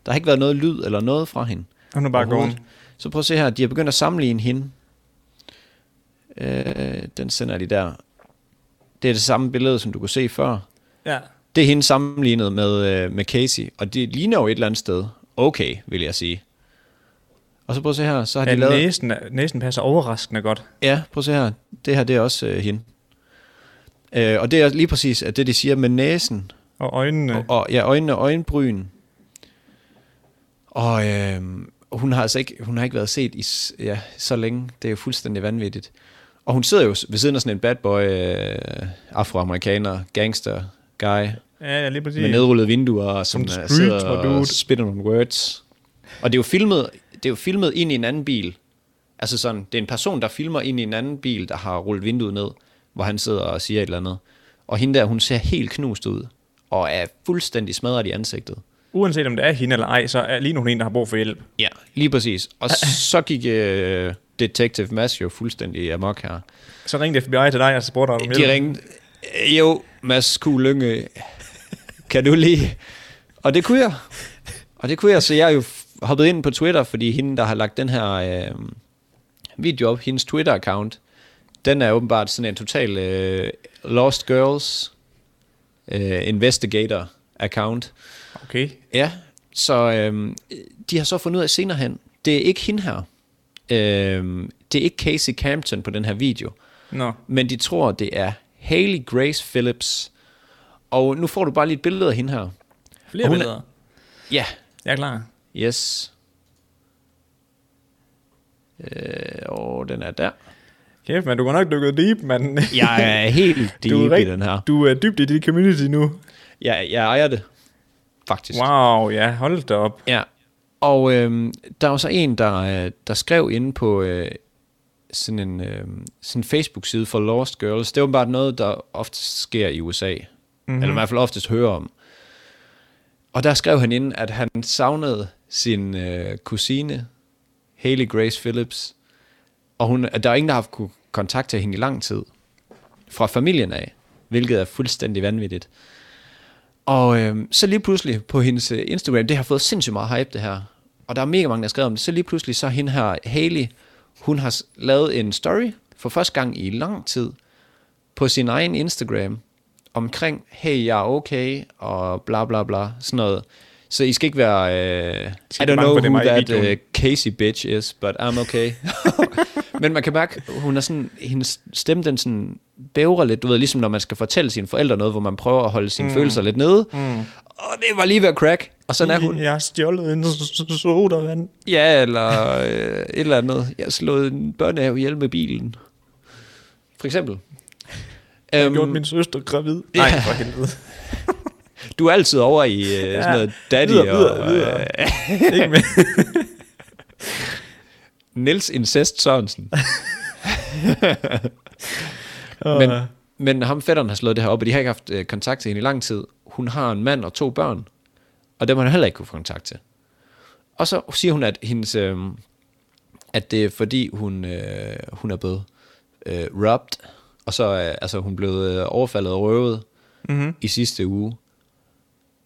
der har ikke været noget lyd eller noget fra hende.
Hun er bare
overhovedet.
gone.
Så prøv at se her, de har begyndt at sammenligne hende. Øh, den sender de der. Det er det samme billede, som du kunne se før.
Ja.
Det er hende sammenlignet med, øh, med Casey, og det ligner jo et eller andet sted. Okay, vil jeg sige. Og så prøv at se her, så har
Ja,
de lavet...
næsen, er- næsen passer overraskende godt.
Ja, prøv at se her. Det her, det er også øh, hende. Øh, og det er lige præcis at det, de siger med næsen,
Og øjnene.
og, og ja, øjnene og øjenbryn. Og øh, hun har altså ikke, hun har ikke været set i s- ja, så længe. Det er jo fuldstændig vanvittigt. Og hun sidder jo s- ved siden af sådan en bad boy, øh, afroamerikaner, gangster guy,
Ja, ja, lige præcis.
med nedrullede vinduer, og som
Som
øh, sidder
street, hvor du-
og spiller nogle words. Og det er jo filmet, det er jo filmet ind i en anden bil. Altså sådan, det er en person, der filmer ind i en anden bil, der har rullet vinduet ned, hvor han sidder og siger et eller andet. Og hende der, hun ser helt knust ud, og er fuldstændig smadret i ansigtet.
Uanset om det er hende eller ej, så er lige nu hun en, der har brug for hjælp.
Ja, lige præcis. Og så gik øh, Detective Mads jo fuldstændig amok her.
Så ringte FBI til dig, og så spurgte dig om
De ringede, "Øh, jo, Mads Q. Lyngø, kan du lige? Og det kunne jeg. Og det kunne jeg, så jeg er jo f- hoppet ind på Twitter, fordi hende, der har lagt den her øh, video op, hendes Twitter-account, den er åbenbart sådan en total øh, Lost Girls øh, Investigator-account.
Okay.
Ja, så øhm, de har så fundet ud af senere hen, det er ikke hende her. Øhm, det er ikke Casey Campton på den her video,
Nå.
men de tror, det er Haley Grace Phillips. Og nu får du bare lige et billede af hende her.
Flere
Og hun-
billeder.
Ja,
Jeg er klar.
yes. Øh, og den er der.
Kæft, men du er godt nok dykket deep, mand.
Jeg er helt deep i
rigt-
den her.
Du er dybt i dit community nu.
Jeg, jeg ejer det, faktisk.
Wow, ja, hold da op.
Ja, og øhm, der var så en, der, øh, der skrev inde på øh, sådan en øh, sådan en Facebook-side for Lost Girls. Det er åbenbart noget, der ofte sker i USA, mm-hmm. eller i hvert fald oftest hører om. Og der skrev han ind, at han savnede sin øh, kusine, Haley Grace Phillips, og hun, at der er ingen, der har kunne kontakte hende i lang tid, fra familien af, hvilket er fuldstændig vanvittigt. Og øh, så lige pludselig på hendes øh, Instagram, det har fået sindssygt meget hype det her, og der er mega mange, der har skrevet om det, så lige pludselig så er hende her, Haley, hun har s- lavet en story for første gang i lang tid på sin egen Instagram omkring, hey, jeg er okay, og bla bla bla, sådan noget. Så I skal ikke være, øh, I
Skal
don't
ikke bange
know
for, det er
who
mig i
that
videoen.
øh, Casey bitch is, but I'm okay. Men man kan mærke, hun er sådan, hendes stemme den sådan bævrer lidt, du ved, ligesom når man skal fortælle sine forældre noget, hvor man prøver at holde sine mm. følelser lidt nede. Mm. Og det var lige ved at crack. Og sådan er hun.
Jeg har stjålet en sodavand.
Ja, eller øh, et eller andet. Jeg har slået en børnehave ihjel med bilen. For eksempel.
Jeg har gjort
Øhm,
min søster gravid. Nej, for helvede.
Du er altid over i øh, sådan noget daddy
videre,
og...
videre.
Øh,
Ikke med.
Niels Incest Sørensen. men,
Men.
men ham fætteren har slået det her op, og de har ikke haft øh, kontakt til hende i lang tid. Hun har en mand og to børn, og dem har hun heller ikke kunne få kontakt til. Og så siger hun, at, hendes, øh, at det er fordi, hun, øh, hun er blevet øh, robbed, og så er øh, altså, hun blevet øh, overfaldet og røvet
Mhm.
mm-hmm. i sidste uge.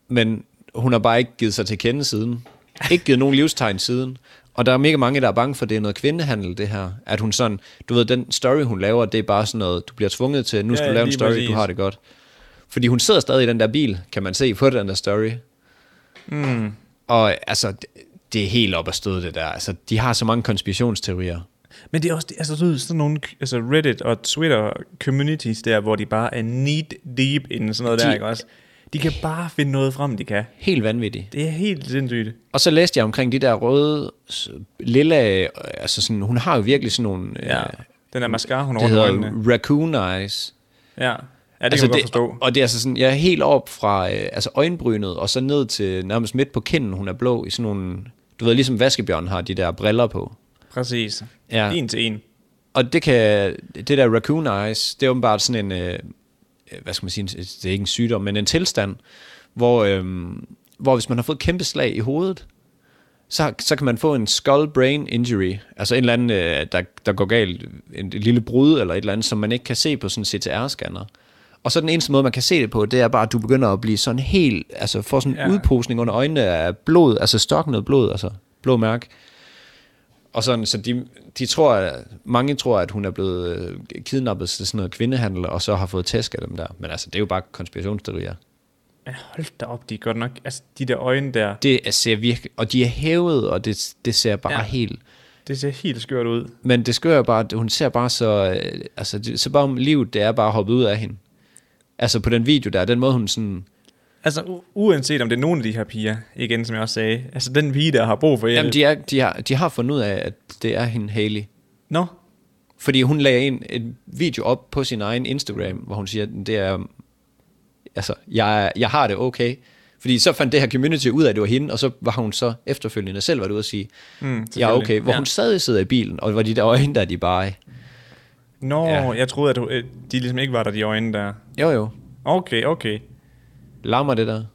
Men hun har bare ikke givet sig til kende siden. Ikke givet nogen livstegn siden. Og der er mega mange, der er bange for, at det er noget kvindehandel, det her. At hun sådan, du ved, den story, hun laver, det er bare sådan noget, du bliver tvunget til, nu skal
Ja,
ja, du lave en
lige
story,
præcis.
du har det godt. Fordi hun sidder stadig i den der bil, kan man se på den der story.
Mm.
Og altså, det- det er helt op at støde det der. Altså, de har så mange konspirationsteorier.
Men det er også det, altså, du ved, sådan nogle altså Reddit og Twitter communities der, hvor de bare er need deep inden sådan noget de,
De-
der, ikke også? De kan bare finde noget frem, de kan.
Helt vanvittigt.
Det er helt sindssygt.
Og så læste jeg omkring de der røde, s- lilla, øh, altså sådan, hun har jo virkelig sådan nogle, ja,
Ja.
øh,
Den der mascara, hun har
det
rundt om
hedder
øjnene.
raccoon eyes.
Ja. ja, det
altså
altså kan man godt forstå.
Og det er altså sådan, ja, helt op fra øh, altså øjenbrynet, og så ned til nærmest midt på kinden, hun er blå i sådan nogle, du ved, ligesom vaskebjørn har de der briller på.
Præcis.
Ja.
Ja. En til en.
Og det kan, det der raccoon eyes, det er åbenbart sådan en, øh, øh, hvad skal man sige, en- det er ikke en sygdom, men en tilstand, hvor, øh, hvor hvis man har fået et kæmpe slag i hovedet, så, så kan man få en skull brain injury, altså en eller anden, øh, der, der går galt, en, et lille brud eller et eller andet, som man ikke kan se på sådan en CTR-scanner. Og så den eneste måde, man kan se det på, det er bare, at du begynder at blive sådan helt, altså får sådan en ja.
Ja.
udposning under øjnene af blod, altså stoknet blod, altså blå mærke. Og sådan, så de, de tror, at- mange tror, at hun er blevet øh, kidnappet til sådan noget kvindehandel, og så har fået tæsk af dem der. Men altså, det er jo bare konspirationsteorier.
Men hold da op, de er godt nok... Altså, de der øjne der,
Det er- ser virkelig, og de er hævet, og det, det ser bare ja.
Ja.
helt...
det ser helt skørt ud.
Men det skører bare, at hun ser bare så... øh, Altså, det, så bare om livet, det er bare hoppet ud af hende. Altså på den video der, den måde hun sådan...
Altså, u- uanset om det er nogen af de her piger, igen som jeg også sagde, altså den pige, der har brug for hjælp.
Jamen, de, er, de, har, de har fundet ud af, at det er hende Haley.
Nå, Mm,
Fordi hun lagde en, en video op på sin egen Instagram, hvor hun siger, at det er, altså, jeg, er- jeg har det okay. Fordi så fandt det her community ud af, at det var hende, og så var hun så efterfølgende selv været ude at sige,
Mm,
jeg er
selvfølgelig.
okay. Hvor
Ja.
hun stadig sidder i bilen, og hvor de der øjne, der er de bare,
Nå,
Ja.
ja. jeg troede, at du- øh, de ligesom ikke var der, de øjne der.
jo jo,
Okay, okay.
lammer det der. Det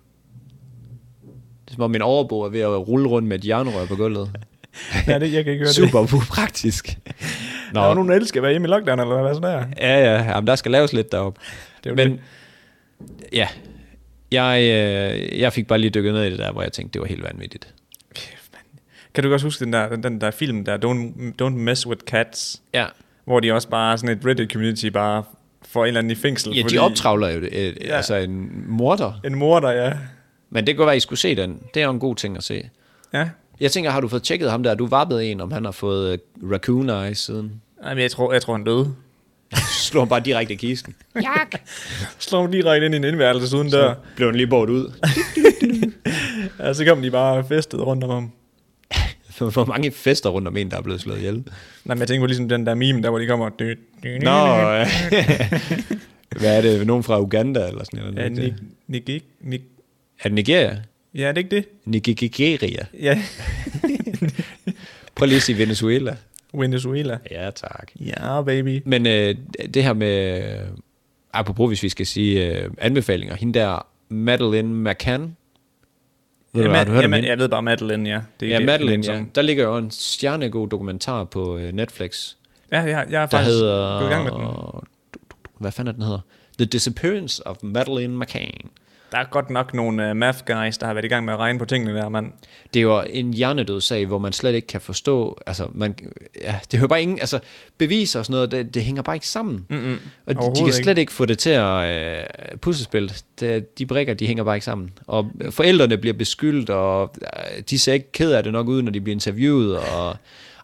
er som om min overbo er ved at rulle rundt med et jernrør på gulvet.
Ja, det, jeg kan ikke høre det.
Super upraktisk.
Nå. Der er jo nogen, der elsker at være hjemme i lockdown, eller hvad sådan der.
Ja, ja, jamen, der skal laves lidt deroppe.
Det er jo
Men, ja, jeg, øh, jeg fik bare lige dykket ned i det der, hvor jeg tænkte, det var helt vanvittigt.
Kæft, mand. Kan du også huske den der, den, den der film der, Don't, Don't Mess With Cats,
Ja,
hvor de også bare er sådan et Reddit-community bare får en eller anden i fængsel.
ja de optravler jo øh, ja.
Ja.
altså en morder.
En morder, ja.
Men det kan godt være, I skulle se den. Det er jo en god ting at se.
Ja.
Jeg tænker, har du fået tjekket ham der? Du vappede en, om han har fået øh, raccoon eyes siden.
Jamen, jeg tror, jeg tror han døde.
Så slog han bare direkte i kisten.
Slår ham direkte ind i en indværelse uden dør.
Blev han lige bort ud.
Ja, så kom de bare festet rundt om ham.
Hvor mange fester rundt om en, der er blevet slået ihjel.
Nej, men jeg tænker på ligesom den der meme, der hvor de kommer... Dø, dø,
Nå, øh, hvad er det? Nogen fra Uganda eller sådan noget?
Ja,
Ja,
Nick,
Ni-
Nick, Nick, Nick,
er det Nigeria?
ja, er det ikke det?
Nigeria.
Ja,
Prøv lige at sige Venezuela.
Venezuela.
Ja, tak.
Ja, baby.
Men øh, det her med, øh, apropos hvis vi skal sige øh, anbefalinger, hende der Madeleine McCann, ved
Ja,
du, hvad, har du hørt om
jamen,
hende?
jeg ved bare Madeline, ja. Det
Ja,
det,
Madeleine,
det,
ja.
som-
Der ligger jo en stjernegod dokumentar på øh, Netflix,
Ja, jeg, jeg er
der
faktisk
hedder...
gået i gang med den.
Hvad fanden er den hedder? The Disappearance of Madeleine McCann.
Der er godt nok nogle uh, math guys, der har været i gang med at regne på tingene der, mand.
Det er jo en hjernedød sag, hvor man slet ikke kan forstå, altså, man, ja, det hører bare ingen, altså, beviser og sådan noget, det, det hænger bare ikke sammen. Mm-mm, og de- de kan
overhovedet
slet ikke få det til at øh, puslespille. Det, de brækker, de hænger bare ikke sammen. Og forældrene bliver beskyldt, og øh, de ser ikke ked af det nok ud, når de bliver interviewet, og,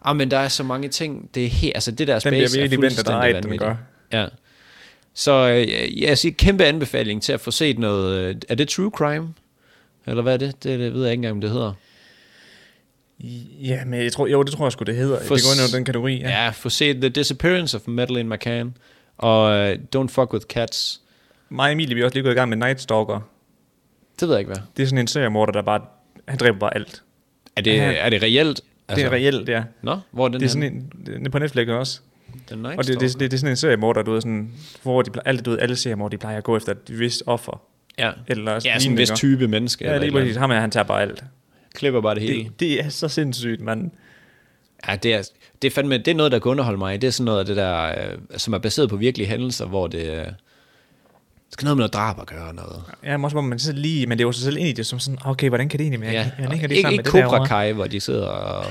ah, men der er så mange ting, det er helt, altså, det der space
bliver virkelig
er
vendt og
fuldstændig
drejet, den
vanvittigt.
gør.
Ja. Så øh, jeg siger kæmpe anbefaling til at få set noget, øh, er det true crime? Eller hvad er det? Det, det ved jeg ikke engang, om det hedder.
Ja, men jeg tror, jo, det tror jeg sgu, det hedder. For... Det går ind under den kategori, ja.
Ja, få set The Disappearance of Madeleine McCann og uh, Don't Fuck With Cats.
Mig og Emilie, vi er også lige gået i gang med Night Stalker.
Det ved jeg ikke, hvad.
Det er sådan en seriemorder, der bare... Han dræber bare alt.
Er det,
Ja.
er det reelt?
Altså, det er reelt, ja.
Nå, hvor er den
Det er sådan en, den er på Netflix også.
The Night
Og det, det, det, det, er sådan en seriemorder, du ved, sådan, hvor de, ple- alle, du ved, alle seriemorder, de plejer at gå efter et vist offer.
ja.
Eller
ja, sådan en
lignende,
vis
ikke?
type menneske.
Ja,
eller
lige
et eller
præcis. Ham her, han tager bare alt.
andet. Klipper bare det hele.
Det, det er så sindssygt, mand.
Ja, det er, det er fandme, det er noget, der kan underholde mig. Det er sådan noget af det der, øh, som er baseret på virkelige hændelser, hvor det øh, skal noget med noget drab at gøre og noget.
Ja, men også hvor man så lige, man lever sig selv ind i det, som sådan, okay, hvordan kan det egentlig, men
Ja,
jeg, jeg,
og
jeg det
ikke,
sammen
ikke
med det
Cobra
derovre?
Kai, hvor de sidder og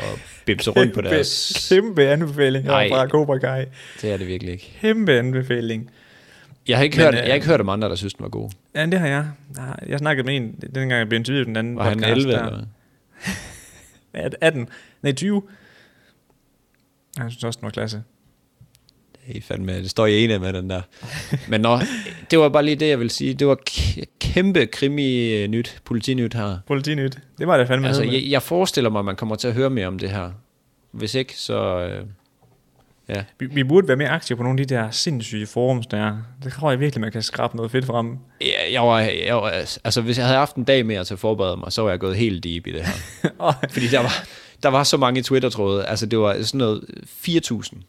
bimser rundt på
Kæmpe-
deres...
Kæmpe anbefaling
Nej.
fra Cobra Kai.
Det er det virkelig ikke.
Kæmpe anbefaling.
Jeg har ikke,
Men,
hørt,
øh,
jeg har ikke hørt om andre, der synes, den var god.
Ja, det har jeg. Nej, Jeg snakkede med en, dengang jeg blev interviewet i den anden
Var han
podcast
11
der.
eller hvad?
18. Nej, 20. Ja, Jeg synes også, den var klasse.
Det er fandme, det står i ene med den der. Men nå, det var bare lige det, jeg ville sige. Det var k- kæmpe krimi-nyt, politinyt her.
Politinyt. Det var det fandme.
Altså,
Altså,
jeg, jeg forestiller mig, at man kommer til at høre mere om det her. Hvis ikke, så... Øh, ja.
vi, vi, burde være mere aktive på nogle af de der sindssyge forums der. Det tror jeg virkelig, man kan skrabe noget fedt frem.
Jeg, jeg, var, jeg var, altså, hvis jeg havde haft en dag mere til at forberede mig, så var jeg gået helt deep i det her.
Og
Fordi der var, der var så mange Twitter-tråde. Altså, det var sådan noget 4.000. Eller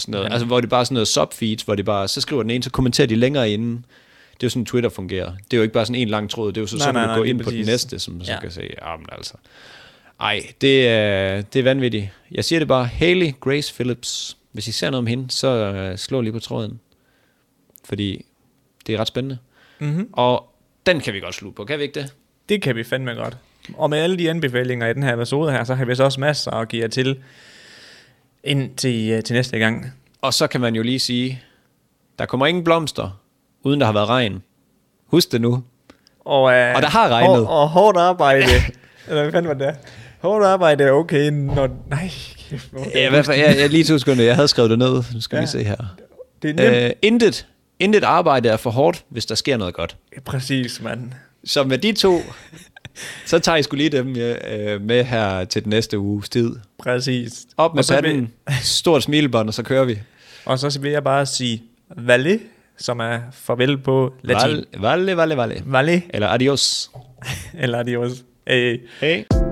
sådan noget. Altså, hvor det bare er sådan noget subfeeds, hvor det bare, så skriver den ene, så kommenterer de længere inden. Det er jo sådan, Twitter fungerer. Det er jo ikke bare sådan en lang tråd. Det er jo så,
Nej,
så
nej,
kan
nej,
du gå
lige
ind på den
præcis.
næste, som så
Ja.
kan se, ah, men altså. Ej, det er, det er vanvittigt. Jeg siger det bare, Haley Grace Phillips. Hvis I ser noget om hende, så uh, slå lige på tråden. Fordi det er ret spændende.
Mhm.
Mm-hmm. Og den kan vi godt slutte på, kan vi ikke det?
det kan vi fandme godt. Og med alle de anbefalinger i den her episode her, så har vi så også masser at give jer til indtil øh, til næste gang.
Og så kan man jo lige sige, der kommer ingen blomster, uden der har været regn. Husk det nu.
Og, øh,
Og der har regnet.
Og, og hårdt arbejde. Eller hvad fanden var det? Hårdt arbejde er okay, når... Nej, kæft. hvor-
Ja, hvad for, jeg, jeg, lige to sekunder, jeg havde skrevet det ned. Nu skal ja. vi se her.
Det er nemt.
Øh, intet, intet arbejde er for hårdt, hvis der sker noget godt.
Øh. Præcis, mand.
Så med de to, så tager I skulle lige dem øh, med her til den næste uges tid.
Præcis.
Op med
og så, vil,
panden, stort smilebånd, og så kører vi.
og så vil jeg bare sige Valle, som er farvel på latin.
Valle, valle, valle.
Valle,
Eller adios.
eller adios. Hey.
Hey.